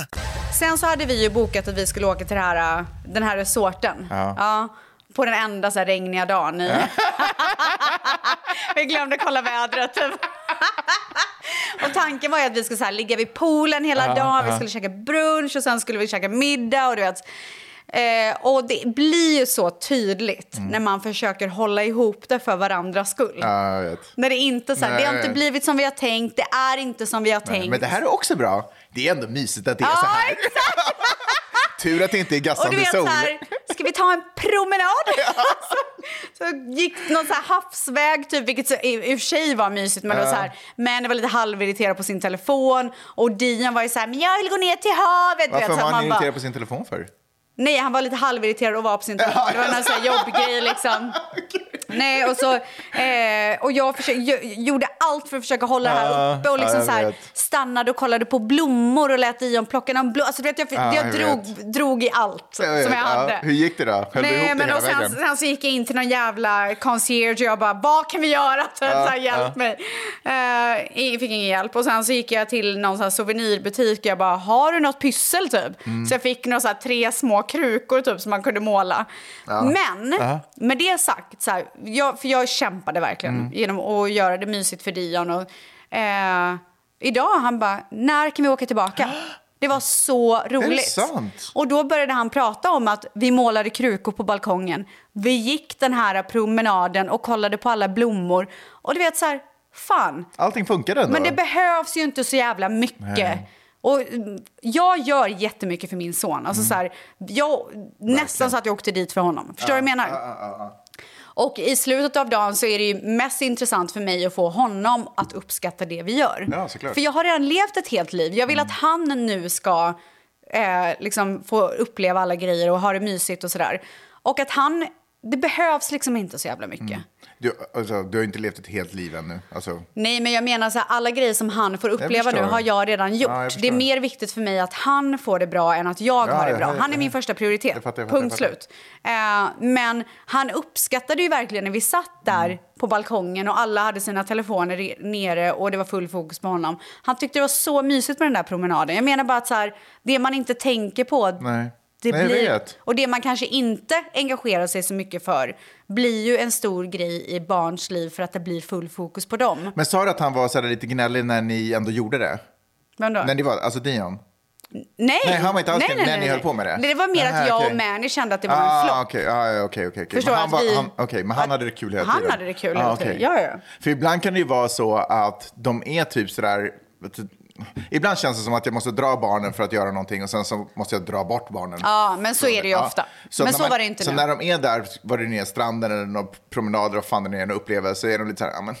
[SPEAKER 5] Sen så hade vi ju bokat att vi skulle åka till det här, äh, den här resorten. Ja. på den enda så här regniga dagen. I. vi glömde kolla vädret. Typ. och tanken var ju att vi skulle så här, ligga vid poolen hela dagen. Vi skulle käka brunch och sen skulle vi käka middag. Och, du vet. Eh, och det blir ju så tydligt när man försöker hålla ihop det för varandras skull.
[SPEAKER 4] Mm. Ja, jag vet.
[SPEAKER 5] När det inte så här, det har
[SPEAKER 4] Nej.
[SPEAKER 5] inte blivit som vi har tänkt, det är inte som vi har tänkt.
[SPEAKER 4] Men det här är också bra. Det är ändå mysigt att det är så här.
[SPEAKER 5] Ja, exakt!
[SPEAKER 4] Tur att det inte är
[SPEAKER 5] Och du
[SPEAKER 4] gassande
[SPEAKER 5] vet så
[SPEAKER 4] sol.
[SPEAKER 5] här, ska vi vi tar en promenad? så, så gick någon så här havsväg, typ, vilket så, i, i och för sig var mysigt. Men, det var
[SPEAKER 4] Ja.
[SPEAKER 5] så här, men det var lite halvirriterad på sin telefon. Och Dion var ju så här, men jag vill gå ner till havet.
[SPEAKER 4] Varför
[SPEAKER 5] vet, så
[SPEAKER 4] var
[SPEAKER 5] här,
[SPEAKER 4] han
[SPEAKER 5] man bara-
[SPEAKER 4] irriterad på sin telefon för?
[SPEAKER 5] Nej, han var lite halvirriterad och var på sin telefon. Det var någon sån här jobbgrej liksom. Nej, och så... Eh, och jag, försökte, jag gjorde allt för att försöka hålla det här
[SPEAKER 4] Ja,
[SPEAKER 5] uppe och
[SPEAKER 4] ja,
[SPEAKER 5] liksom
[SPEAKER 4] jag
[SPEAKER 5] så här,
[SPEAKER 4] vet.
[SPEAKER 5] stannade och kollade på blommor och lät Ion plocka någon blå... Alltså, du vet, jag,
[SPEAKER 4] Ja,
[SPEAKER 5] jag
[SPEAKER 4] jag
[SPEAKER 5] drog, drog i allt som jag hade.
[SPEAKER 4] Ja, hur gick det då? Höll du
[SPEAKER 5] Nej,
[SPEAKER 4] ihop det
[SPEAKER 5] men
[SPEAKER 4] hela
[SPEAKER 5] och sen,
[SPEAKER 4] vägen?
[SPEAKER 5] sen så gick jag in till någon jävla concierge och jag bara, vad kan vi göra? Typ,
[SPEAKER 4] Ja,
[SPEAKER 5] så här, hjälp
[SPEAKER 4] ja.
[SPEAKER 5] mig. Eh, ingen- fick ingen hjälp. Och sen så gick jag till någon så här souvenirbutik och jag bara, har du något pyssel typ?
[SPEAKER 9] Mm.
[SPEAKER 5] Så jag fick några så här tre små krukor typ som man kunde måla.
[SPEAKER 9] Ja.
[SPEAKER 5] Men,
[SPEAKER 9] Ja.
[SPEAKER 5] med det sagt, så här, jag, för jag kämpade verkligen
[SPEAKER 9] Mm.
[SPEAKER 5] genom att göra det mysigt för Dion. Och, eh, idag han bara, när kan vi åka tillbaka? Det var så roligt.
[SPEAKER 4] sant?
[SPEAKER 5] Och då började han prata om att vi målade krukor på balkongen. Vi gick den här promenaden och kollade på alla blommor. Och du vet så här, fan.
[SPEAKER 4] Allting funkade ändå?
[SPEAKER 5] Men det behövs ju inte så jävla mycket.
[SPEAKER 4] Nej.
[SPEAKER 5] Och mm, jag gör jättemycket för min son.
[SPEAKER 4] Mm.
[SPEAKER 5] Alltså så här, jag, nästan så att jag åkte dit för honom. Förstår du vad jag menar? Och i slutet av dagen så är det ju mest intressant för mig att få honom att uppskatta det vi gör.
[SPEAKER 4] Ja, såklart. Mm.
[SPEAKER 5] För jag har redan levt ett helt liv. Jag vill att han nu ska eh, liksom få uppleva alla grejer och ha det mysigt och sådär. Och att han, det behövs liksom inte så jävla mycket.
[SPEAKER 4] Mm. Du, alltså, du har ju inte levt ett helt liv ännu. Alltså,
[SPEAKER 5] Nej, men jag menar så här, alla grejer som han får uppleva nu
[SPEAKER 4] förstår.
[SPEAKER 5] har jag redan gjort.
[SPEAKER 4] Ja, jag förstår.
[SPEAKER 5] det är mer viktigt för mig att han får det bra än att jag
[SPEAKER 4] Ja,
[SPEAKER 5] har det
[SPEAKER 4] ja,
[SPEAKER 5] bra.
[SPEAKER 4] ja,
[SPEAKER 5] Han är
[SPEAKER 4] ja.
[SPEAKER 5] min första prioritet.
[SPEAKER 4] Jag fattar, jag fattar,
[SPEAKER 5] Punkt
[SPEAKER 4] jag fattar.
[SPEAKER 5] slut. Eh, men han uppskattade ju verkligen när vi satt där
[SPEAKER 4] Mm.
[SPEAKER 5] på balkongen och alla hade sina telefoner re- nere och det var full fokus på honom. Han tyckte det var så mysigt med den där promenaden. Jag menar bara att så här, det man inte tänker på
[SPEAKER 4] nej.
[SPEAKER 5] det
[SPEAKER 4] nej,
[SPEAKER 5] blir,
[SPEAKER 4] jag vet.
[SPEAKER 5] och det man kanske inte engagerar sig så mycket för blir ju en stor grej i barns liv för att det blir full fokus på dem.
[SPEAKER 4] Men sa du att han var så här lite gnällig när ni ändå gjorde det?
[SPEAKER 5] Men då?
[SPEAKER 4] När ni var, alltså Dion?
[SPEAKER 5] Nej,
[SPEAKER 4] Nej, han var inte alls nej, nej, när ni höll på med det?
[SPEAKER 5] Det var mer
[SPEAKER 4] Aha,
[SPEAKER 5] att jag
[SPEAKER 4] okej.
[SPEAKER 5] och Mani kände att det var en flopp.
[SPEAKER 4] Ah, okej, ah, ja, okej, okej, okej.
[SPEAKER 5] Förstår
[SPEAKER 4] Men han
[SPEAKER 5] att
[SPEAKER 4] var-
[SPEAKER 5] vi-
[SPEAKER 4] han- Okej, men han hade det kul hela
[SPEAKER 5] han
[SPEAKER 4] tiden. Ah,
[SPEAKER 5] hade det kul hela tiden.
[SPEAKER 4] okej.
[SPEAKER 5] Ja, ja.
[SPEAKER 4] För ibland kan det ju vara så att de är typ sådär... Ibland känns det som att jag måste dra barnen för att göra någonting och sen så måste jag dra bort barnen.
[SPEAKER 5] Ja, men så är det ju
[SPEAKER 4] Ja.
[SPEAKER 5] ofta.
[SPEAKER 4] Så
[SPEAKER 5] men
[SPEAKER 4] när
[SPEAKER 5] så
[SPEAKER 4] man,
[SPEAKER 5] var det inte
[SPEAKER 4] Så
[SPEAKER 5] nu.
[SPEAKER 4] när de är där, var det nere stranden eller några promenader och fan det är, en upplevelse, så är de lite så här, ja men,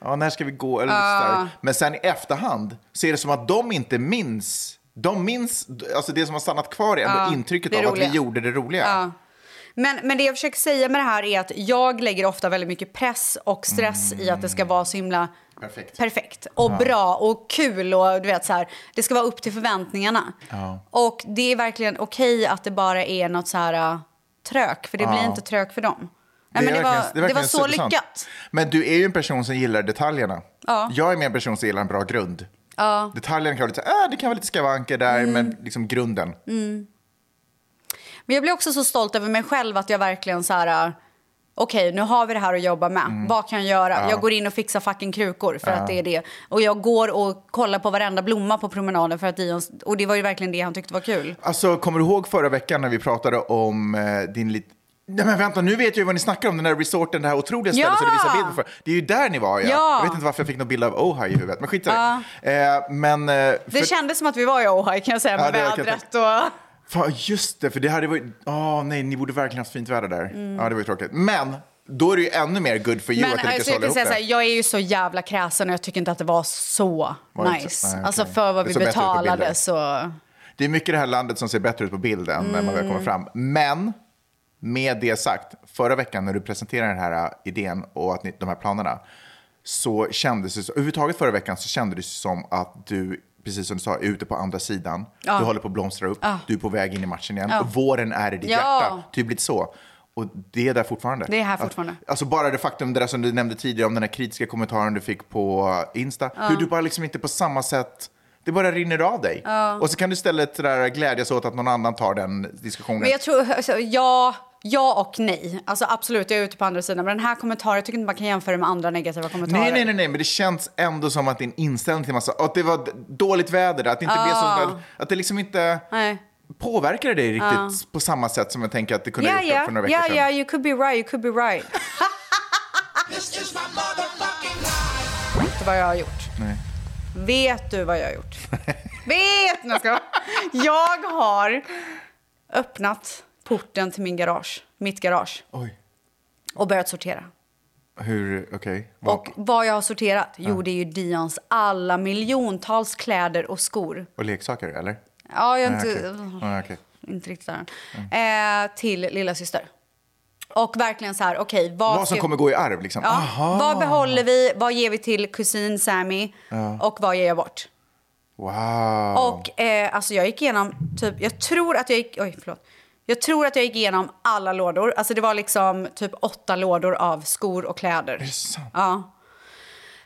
[SPEAKER 4] ja, när ska vi gå? Eller lite
[SPEAKER 5] Ja.
[SPEAKER 4] så där. Men sen i efterhand så är det som att de inte minns, de minns, alltså det som har stannat kvar är ändå
[SPEAKER 5] Ja,
[SPEAKER 4] intrycket
[SPEAKER 5] det
[SPEAKER 4] av att vi
[SPEAKER 5] roliga.
[SPEAKER 4] gjorde det roliga.
[SPEAKER 5] Ja. Men, men det jag försöker säga med det här är att jag lägger ofta väldigt mycket press och stress i att det ska vara så himla
[SPEAKER 4] Mm. Perfekt.
[SPEAKER 5] och
[SPEAKER 4] Ja.
[SPEAKER 5] bra och kul och du vet så här, det ska vara upp till förväntningarna.
[SPEAKER 4] Ja.
[SPEAKER 5] Och det är verkligen okej att det bara är något så här uh, trök, för det
[SPEAKER 4] Ja.
[SPEAKER 5] blir inte trök för dem. Nej,
[SPEAKER 4] är
[SPEAKER 5] men det, var,
[SPEAKER 4] verkligen-
[SPEAKER 5] det,
[SPEAKER 4] är
[SPEAKER 5] var
[SPEAKER 4] verkligen
[SPEAKER 5] så
[SPEAKER 4] supersant.
[SPEAKER 5] lyckat.
[SPEAKER 4] Men du är ju en person som gillar detaljerna.
[SPEAKER 5] Ja.
[SPEAKER 4] Jag är mer en person som gillar en bra grund.
[SPEAKER 5] Ja.
[SPEAKER 4] Detaljerna kan vara lite, så här, ah, det kan vara lite skavanker där, men liksom grunden.
[SPEAKER 5] Mm. Men jag blir också så stolt över mig själv att jag verkligen så här... äh, Okej, nu har vi det här att jobba med.
[SPEAKER 4] Mm.
[SPEAKER 5] Vad kan jag göra?
[SPEAKER 9] Ja.
[SPEAKER 5] Jag går in och fixar fucking krukor för
[SPEAKER 9] Ja.
[SPEAKER 5] att det är det. Och jag går och kollar på varenda blomma på promenaden för att Dion... Och det var ju verkligen det han tyckte var kul.
[SPEAKER 4] Alltså, kommer du ihåg förra veckan när vi pratade om eh, din lit... Nej men vänta, nu vet jag ju vad ni snackar om, den där resorten, det här otroliga stället
[SPEAKER 5] Ja!
[SPEAKER 4] som du visade bild på. för- Det är ju där ni var ja.
[SPEAKER 5] Ja.
[SPEAKER 4] Jag vet inte varför jag fick någon bild av Ohio i huvudet, men skit i det. Eh, men... eh,
[SPEAKER 5] Det
[SPEAKER 4] för-
[SPEAKER 5] kändes som att vi var i Ohio kan jag säga
[SPEAKER 4] Ja,
[SPEAKER 5] med
[SPEAKER 4] det kan jag
[SPEAKER 5] vädret och...
[SPEAKER 4] Fan, just det, för det hade varit... Åh nej, ni borde verkligen haft fint väder där.
[SPEAKER 5] Mm.
[SPEAKER 4] Ja, det var ju tråkigt. Men, då är det ju ännu mer good for you
[SPEAKER 5] Men
[SPEAKER 4] att ni lyckas
[SPEAKER 5] alltså, jag
[SPEAKER 4] hålla
[SPEAKER 5] kan
[SPEAKER 4] ihop
[SPEAKER 5] säga
[SPEAKER 4] det.
[SPEAKER 5] så här, jag är ju så jävla kräsen och jag tycker inte att det var så
[SPEAKER 4] Var det inte?
[SPEAKER 5] nice.
[SPEAKER 4] Nej,
[SPEAKER 5] Alltså
[SPEAKER 4] okej.
[SPEAKER 5] för vad
[SPEAKER 4] Det
[SPEAKER 5] vi
[SPEAKER 4] såg bättre ut på bilden.
[SPEAKER 5] betalade så...
[SPEAKER 4] Det är mycket i det här landet som ser bättre ut på bild än när man väl
[SPEAKER 5] Mm.
[SPEAKER 4] kommer fram. Men med det sagt, förra veckan när du presenterade den här äh, idén och att ni, de här planerna så kändes det, så- överhuvudtaget förra veckan så kändes det som att du, precis som du sa, är ute på andra sidan.
[SPEAKER 5] Ja.
[SPEAKER 4] Du håller på att blomstra upp,
[SPEAKER 5] Ja.
[SPEAKER 4] du är på väg in i matchen igen.
[SPEAKER 5] Ja.
[SPEAKER 4] Våren är i ditt
[SPEAKER 5] Ja.
[SPEAKER 4] hjärta, typ lite så. Och det är där fortfarande.
[SPEAKER 5] Det är här
[SPEAKER 4] Att-
[SPEAKER 5] fortfarande.
[SPEAKER 4] Alltså bara det faktum det där som du nämnde tidigare om den här kritiska kommentaren du fick på Insta.
[SPEAKER 5] Ja.
[SPEAKER 4] Hur du bara liksom inte på samma sätt, det bara rinner av dig.
[SPEAKER 5] Ja.
[SPEAKER 4] Och så kan du istället det där glädjas åt att någon annan tar den diskussionen.
[SPEAKER 5] Men jag tror, alltså, ja, ja och nej. Alltså absolut, jag är ute på andra sidan. Men den här kommentaren, jag tycker inte man kan jämföra med andra negativa kommentarer.
[SPEAKER 4] Nej, nej, nej, nej, men det känns ändå som att din inställning till massa, att det var d- dåligt väder, att det inte blev
[SPEAKER 5] Ah.
[SPEAKER 4] så, att det liksom inte
[SPEAKER 5] nej.
[SPEAKER 4] påverkade dig riktigt
[SPEAKER 5] Ah.
[SPEAKER 4] på samma sätt som jag tänker att det kunde ha
[SPEAKER 5] Yeah,
[SPEAKER 4] gjort för några
[SPEAKER 5] yeah,
[SPEAKER 4] veckor
[SPEAKER 5] yeah,
[SPEAKER 4] sedan.
[SPEAKER 5] yeah, you could be right, you could be right. Vet du vad jag har gjort?
[SPEAKER 4] Nej.
[SPEAKER 5] Vet du vad jag har gjort? Vet du? Jag ska- Jag har öppnat porten till min garage, mitt garage.
[SPEAKER 4] Oj.
[SPEAKER 5] Och börjat sortera.
[SPEAKER 4] Hur, okej. Okay.
[SPEAKER 5] Vad jag har sorterat? Jo,
[SPEAKER 4] Ja.
[SPEAKER 5] det är ju Dions alla miljontals kläder och skor.
[SPEAKER 4] Och leksaker, eller?
[SPEAKER 5] Ja, jag är
[SPEAKER 4] Nej,
[SPEAKER 5] inte-
[SPEAKER 4] Ah,
[SPEAKER 5] Ah,
[SPEAKER 4] okej. Nej, okej. Mm.
[SPEAKER 5] Inte riktigt där än. Eh, till lilla syster. Och verkligen så här, okej. vad,
[SPEAKER 4] Vad som
[SPEAKER 5] ska-
[SPEAKER 4] kommer gå i arv, liksom?
[SPEAKER 5] Ja,
[SPEAKER 4] Aha.
[SPEAKER 5] vad behåller vi? Vad ger vi till kusin Sammy?
[SPEAKER 4] Ja.
[SPEAKER 5] Och vad ger jag bort?
[SPEAKER 4] Wow.
[SPEAKER 5] Och eh, alltså jag gick igenom, typ, jag tror att jag gick, oj förlåt. Jag tror att jag gick igenom alla lådor. Alltså det var liksom typ åtta lådor av skor och kläder. Är det
[SPEAKER 4] sant?
[SPEAKER 5] Ja.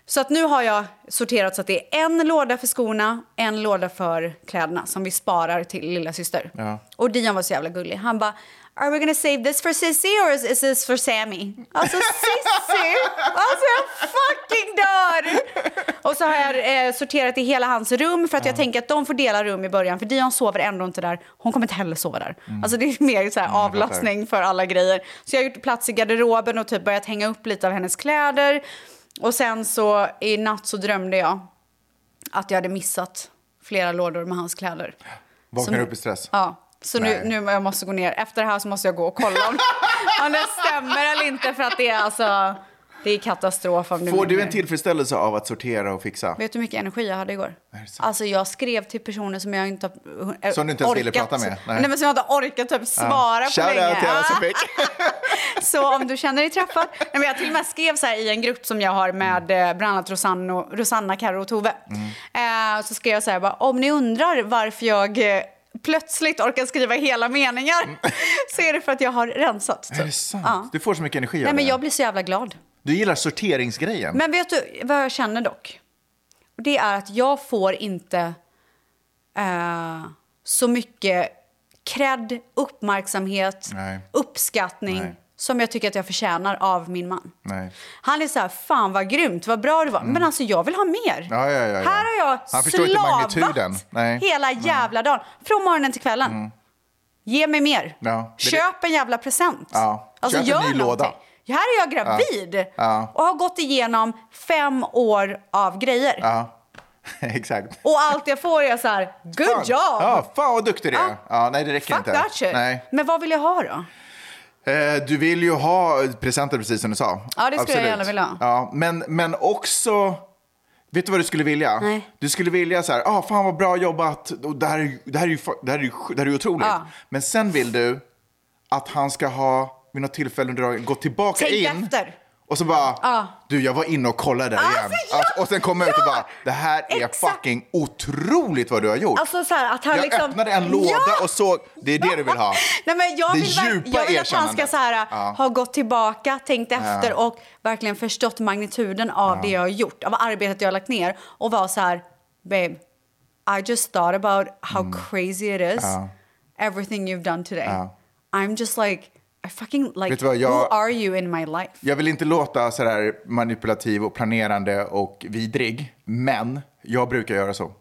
[SPEAKER 5] Så att nu har jag sorterat så att det är en låda för skorna, en låda för kläderna som vi sparar till lilla syster.
[SPEAKER 4] Ja.
[SPEAKER 5] Och Dion var så jävla gullig. Han bara, are we gonna save this for Sissy or is, is this for Sammy? Alltså Sissy! alltså jag fucking dör! Och så har jag eh, sorterat i hela hans rum för att jag tänker att de får dela rum i början för Dion sover ändå inte där. Hon kommer inte heller sova där. Alltså det är mer så här
[SPEAKER 9] jag fattar.
[SPEAKER 5] avlastning för alla grejer. Så jag har gjort plats i garderoben och typ börjat hänga upp lite av hennes kläder. Och sen så i natt så drömde jag att jag hade missat flera lådor med hans kläder.
[SPEAKER 4] Vaknar
[SPEAKER 5] Så-
[SPEAKER 4] upp i stress.
[SPEAKER 5] Ja, så nu,
[SPEAKER 4] Nej.
[SPEAKER 5] nu jag måste gå ner. Efter det här så måste jag gå och kolla om, om det stämmer eller inte. För att det är alltså, det är katastrof om det
[SPEAKER 4] Får du
[SPEAKER 5] vinner.
[SPEAKER 4] en tillfredsställelse av att sortera och fixa?
[SPEAKER 5] Vet du hur mycket energi jag hade igår?
[SPEAKER 4] Är det sant?
[SPEAKER 5] Alltså jag skrev till personer som jag inte har eh,
[SPEAKER 4] Som du inte ens ville
[SPEAKER 5] orkat-
[SPEAKER 4] prata med?
[SPEAKER 5] Nej.
[SPEAKER 4] Nej.
[SPEAKER 5] men som jag inte har orkat typ svara på
[SPEAKER 4] Shoutout
[SPEAKER 5] länge.
[SPEAKER 4] till alla som
[SPEAKER 5] Ah.
[SPEAKER 4] fick.
[SPEAKER 5] Så om du känner dig träffad. Nej, men jag till och med skrev så här i en grupp som jag har med
[SPEAKER 4] Mm.
[SPEAKER 5] eh, bland annat Rosanno, Rosanna, Carro och Tove.
[SPEAKER 4] Mm.
[SPEAKER 5] Eh, så skrev jag så här bara, om ni undrar varför jag eh, plötsligt orkar skriva hela meningar så är det för att jag har rensat. typ.
[SPEAKER 4] Mm. Är det sant?
[SPEAKER 5] Ja.
[SPEAKER 4] Du får så mycket energi
[SPEAKER 5] Nej
[SPEAKER 4] av
[SPEAKER 5] men
[SPEAKER 4] det.
[SPEAKER 5] jag blir så jävla glad.
[SPEAKER 4] Du gillar sorteringsgrejen.
[SPEAKER 5] Men vet du vad jag känner dock? Det är att jag får inte eh, så mycket cred, uppmärksamhet,
[SPEAKER 4] Nej.
[SPEAKER 5] uppskattning
[SPEAKER 4] Nej.
[SPEAKER 5] som jag tycker att jag förtjänar av min man.
[SPEAKER 4] Nej.
[SPEAKER 5] Han är så här, fan vad grymt, vad bra det var. Men alltså jag vill ha mer.
[SPEAKER 4] Mm. Ja, ja, ja, ja.
[SPEAKER 5] Här har jag
[SPEAKER 4] Han förstår inte
[SPEAKER 5] slavat
[SPEAKER 4] magnituden. Nej. Mm.
[SPEAKER 5] hela jävla dagen. Från morgonen till kvällen. Ge mig mer.
[SPEAKER 4] Ja. det-
[SPEAKER 5] Köp en jävla present. Alltså,
[SPEAKER 4] Ja. Köp en ny
[SPEAKER 5] någonting.
[SPEAKER 4] låda.
[SPEAKER 5] Här är jag gravid
[SPEAKER 4] Ja.
[SPEAKER 5] och har gått igenom fem år av grejer.
[SPEAKER 4] Ja, exakt.
[SPEAKER 5] Och allt jag får är så här, good
[SPEAKER 4] Fan.
[SPEAKER 5] job!
[SPEAKER 4] Ja, fan vad duktig du är.
[SPEAKER 5] Ja.
[SPEAKER 4] Ja. nej, det räcker
[SPEAKER 5] Ah. Fuck
[SPEAKER 4] inte.
[SPEAKER 5] that shit.
[SPEAKER 4] Nej.
[SPEAKER 5] Men vad vill jag ha då?
[SPEAKER 4] Eh, du vill ju ha presenter, precis som du sa.
[SPEAKER 5] Ja, det skulle jag gärna vilja ha.
[SPEAKER 4] Ja, men, men också... Vet du vad du skulle vilja?
[SPEAKER 5] Nej.
[SPEAKER 4] Du skulle vilja så här, ah, fan vad bra jobbat, och det, här, är ju- det, här är ju, fa- det, här är ju, sj- det här är ju otroligt.
[SPEAKER 5] Ja.
[SPEAKER 4] Men sen vill du att han ska ha, vid något tillfälle under dagen, gått tillbaka
[SPEAKER 5] Tänk
[SPEAKER 4] in
[SPEAKER 5] efter.
[SPEAKER 4] och så bara,
[SPEAKER 5] Ja.
[SPEAKER 4] du jag var inne och kollade där
[SPEAKER 5] Alltså,
[SPEAKER 4] igen.
[SPEAKER 5] ja,
[SPEAKER 4] och sen kommer jag ut och bara, det här är fucking otroligt vad du har gjort.
[SPEAKER 5] Alltså så här, att han
[SPEAKER 4] jag
[SPEAKER 5] liksom...
[SPEAKER 4] öppnade en låda
[SPEAKER 5] Ja!
[SPEAKER 4] och såg, det är det du vill ha.
[SPEAKER 5] Nej, men jag
[SPEAKER 4] Det
[SPEAKER 5] vill, verk-
[SPEAKER 4] djupa
[SPEAKER 5] jag vill att han ska
[SPEAKER 4] erkännandet.
[SPEAKER 5] så här,
[SPEAKER 4] Ja.
[SPEAKER 5] ha gått tillbaka, tänkt efter
[SPEAKER 4] Ja.
[SPEAKER 5] och verkligen förstått magnituden av
[SPEAKER 4] Ja.
[SPEAKER 5] det jag har gjort, av arbetet jag har lagt ner och vara så här, babe, I just thought about how crazy it is,
[SPEAKER 4] Mm. Ja.
[SPEAKER 5] everything you've done today.
[SPEAKER 4] Ja.
[SPEAKER 5] I'm just like, I fucking like,
[SPEAKER 4] Vet du vad, jag-
[SPEAKER 5] who are you in my life?
[SPEAKER 4] Jag vill inte låta sådär manipulativ och planerande och vidrig, men jag brukar göra så.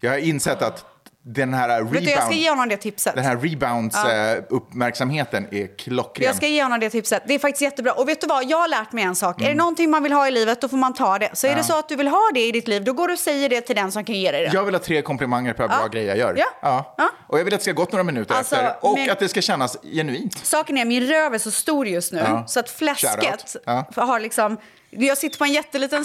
[SPEAKER 4] Jag har insett att den här
[SPEAKER 5] Vet du, jag ska
[SPEAKER 4] rebound,
[SPEAKER 5] ge honom det tipset.
[SPEAKER 4] den här rebounds
[SPEAKER 5] Ja.
[SPEAKER 4] eh, uppmärksamheten är klockren.
[SPEAKER 5] Jag ska ge honom det tipset. Det är faktiskt jättebra. Och vet du vad, jag har lärt mig en sak. Är det någonting man vill ha i livet, då får man ta det. Så är
[SPEAKER 4] Mm. Ja.
[SPEAKER 5] det så att du vill ha det i ditt liv, då går du och säger det till den som kan ge dig det.
[SPEAKER 4] Jag vill ha tre komplimanger per bra grej jag gör.
[SPEAKER 5] Ja.
[SPEAKER 4] Och jag vill att det ska ha gått några minuter
[SPEAKER 5] Alltså,
[SPEAKER 4] efter och
[SPEAKER 5] men-
[SPEAKER 4] att det ska kännas genuint.
[SPEAKER 5] Saken är, min röv är så stor just nu
[SPEAKER 4] Ja.
[SPEAKER 5] så att fläsket
[SPEAKER 4] Shoutout.
[SPEAKER 5] har liksom... Jag sitter på en jätteliten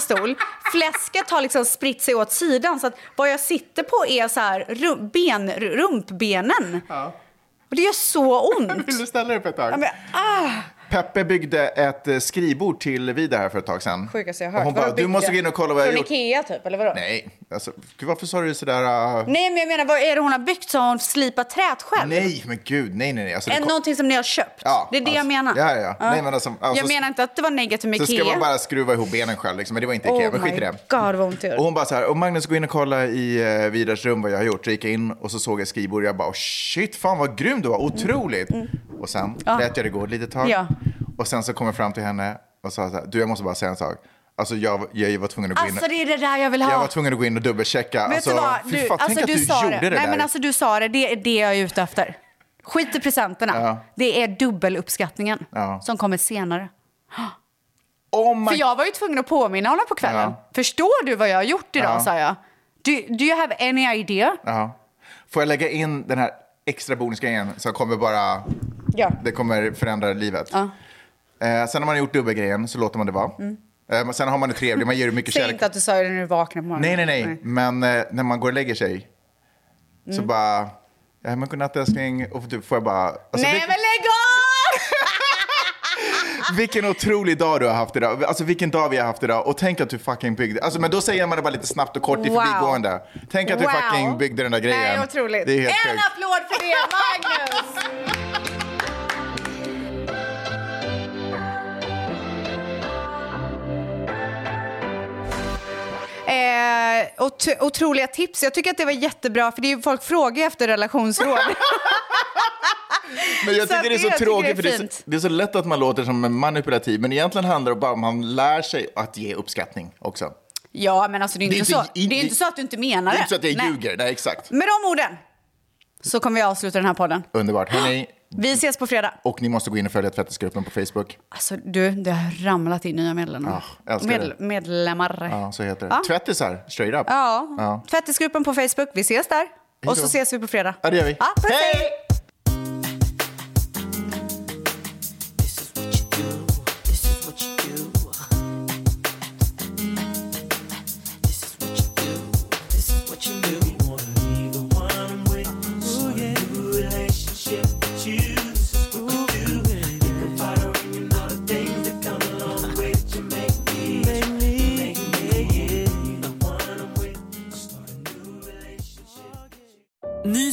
[SPEAKER 5] stol. Fläsket har liksom spritt sig åt sidan så att vad jag sitter på är så här rum, ben, rumpbenen. Och det gör så ont.
[SPEAKER 4] Vill du ställa dig upp ett tag?
[SPEAKER 5] Ja, men, ah.
[SPEAKER 4] Peppe byggde ett eh, skrivbord till Vida här för ett tag sedan.
[SPEAKER 5] Sjukaste jag
[SPEAKER 4] Och
[SPEAKER 5] har
[SPEAKER 4] hon
[SPEAKER 5] hört.
[SPEAKER 4] bara,
[SPEAKER 5] Vadå
[SPEAKER 4] du måste
[SPEAKER 5] bygga?
[SPEAKER 4] gå in och kolla vad jag har
[SPEAKER 5] Från
[SPEAKER 4] gjort.
[SPEAKER 5] Ikea typ, eller vadå?
[SPEAKER 4] Nej, alltså, gud, varför sa du sådär? eh,
[SPEAKER 5] Nej, men jag menar, vad är det hon har byggt? Så har hon slipat träet själv?
[SPEAKER 4] Nej, men gud, nej, nej, nej. Alltså, det
[SPEAKER 5] Än
[SPEAKER 4] kom-
[SPEAKER 5] någonting som ni har köpt?
[SPEAKER 4] Ja,
[SPEAKER 5] det är det jag
[SPEAKER 4] alltså,
[SPEAKER 5] menar.
[SPEAKER 4] ja, ja, ja. Nej, men alltså, alltså,
[SPEAKER 5] jag menar inte att det var negativt med
[SPEAKER 4] Så
[SPEAKER 5] Ikea.
[SPEAKER 4] ska man bara skruva ihop benen själv, liksom. men det var inte Ikea.
[SPEAKER 5] oh
[SPEAKER 4] men skit i det.
[SPEAKER 5] my god vad ont det
[SPEAKER 4] Och
[SPEAKER 5] gör.
[SPEAKER 4] hon bara så här, och Magnus gå in och kolla i eh, Vidars rum vad jag har gjort. Så gick jag in och så såg jag skrivbordet och jag bara, oh, shit, fan vad grym du var, otroligt. Och sen
[SPEAKER 5] Mm. Ja.
[SPEAKER 4] lät jag det gå ett litet tag.
[SPEAKER 5] Ja.
[SPEAKER 4] Och sen så kom jag fram till henne och sa så här, du jag måste bara säga en sak. Alltså jag, jag var tvungen att gå in.
[SPEAKER 5] Alltså det är det där jag vill ha.
[SPEAKER 4] Jag var tvungen att gå in och dubbelchecka.
[SPEAKER 5] Vet
[SPEAKER 4] alltså,
[SPEAKER 5] du vad?
[SPEAKER 4] fy fan, tänk att du
[SPEAKER 5] sa
[SPEAKER 4] gjorde det,
[SPEAKER 5] Nej,
[SPEAKER 4] där.
[SPEAKER 5] men alltså du sa det. Det är det jag är ute efter. Skit i presenterna.
[SPEAKER 4] Ja.
[SPEAKER 5] Det är dubbeluppskattningen
[SPEAKER 4] Ja.
[SPEAKER 5] som kommer senare.
[SPEAKER 4] Oh my-
[SPEAKER 5] För jag var ju tvungen att påminna honom på kvällen.
[SPEAKER 4] Ja.
[SPEAKER 5] Förstår du vad jag har gjort idag,
[SPEAKER 4] Ja.
[SPEAKER 5] sa jag. Do, do you have any idea?
[SPEAKER 4] Ja. Får jag lägga in den här extra bonusgrejen som kommer bara
[SPEAKER 5] Ja.
[SPEAKER 4] Det kommer förändra livet.
[SPEAKER 5] Ja.
[SPEAKER 4] Eh, sen har man gjort dubbelgrejen så låter man det vara.
[SPEAKER 5] Mm.
[SPEAKER 4] Eh, men sen har man det trevligt, man ger det mycket
[SPEAKER 5] Säg
[SPEAKER 4] kärlek.
[SPEAKER 5] inte att du sa det när du vaknade på
[SPEAKER 4] Nej,
[SPEAKER 5] morgonen.
[SPEAKER 4] nej, nej. Men eh, när man går och lägger sig så
[SPEAKER 5] Mm.
[SPEAKER 4] bara, ja men godnatt älskling. Och typ får jag bara, alltså,
[SPEAKER 5] nej
[SPEAKER 4] vil-
[SPEAKER 5] men lägg av!
[SPEAKER 4] vilken otrolig dag du har haft idag. Alltså vilken dag vi har haft idag. Och tänk att du fucking byggde, alltså men då säger man det bara lite snabbt och kort i
[SPEAKER 5] Wow.
[SPEAKER 4] förbigående. Tänk att du
[SPEAKER 5] Wow.
[SPEAKER 4] fucking byggde den där grejen.
[SPEAKER 5] Nej, otroligt.
[SPEAKER 4] Det är helt
[SPEAKER 5] en
[SPEAKER 4] sjukt.
[SPEAKER 5] applåd för det, Magnus! Eh, ot- otroliga tips. Jag tycker att det var jättebra, för det är ju folk frågar ju efter relationsråd.
[SPEAKER 4] Men jag
[SPEAKER 5] Så
[SPEAKER 4] tycker
[SPEAKER 5] att
[SPEAKER 4] det är så
[SPEAKER 5] jag tycker
[SPEAKER 4] tråkigt
[SPEAKER 5] det är
[SPEAKER 4] för det är, så,
[SPEAKER 5] fint.
[SPEAKER 4] det är så lätt att man låter som en manipulativ men egentligen handlar det bara om att man lär sig att ge uppskattning också.
[SPEAKER 5] ja, men alltså det är
[SPEAKER 4] Det är
[SPEAKER 5] ju inte,
[SPEAKER 4] inte-
[SPEAKER 5] så- det är ju inte så att du inte
[SPEAKER 4] Det
[SPEAKER 5] menar
[SPEAKER 4] är
[SPEAKER 5] det.
[SPEAKER 4] inte så att jag
[SPEAKER 5] Nej.
[SPEAKER 4] ljuger, nej exakt.
[SPEAKER 5] Med de orden så kommer vi avsluta den här podden.
[SPEAKER 4] Underbart. Hörrni,
[SPEAKER 5] Vi ses på fredag.
[SPEAKER 4] och ni måste gå in och följa tvättisgruppen på Facebook.
[SPEAKER 5] Alltså du, det har ramlat in nya medlemmar.
[SPEAKER 4] Ah, älskar
[SPEAKER 5] Medl- medlemmar.
[SPEAKER 4] Ja, så heter det.
[SPEAKER 5] Ja.
[SPEAKER 4] Tvättisar, straight up.
[SPEAKER 5] Ja.
[SPEAKER 4] Ja.
[SPEAKER 5] Tvättisgruppen på Facebook. Vi ses där.
[SPEAKER 4] då.
[SPEAKER 5] Och så ses vi på fredag.
[SPEAKER 4] Ja, det gör vi.
[SPEAKER 5] Ja, puss, hej!
[SPEAKER 1] Ny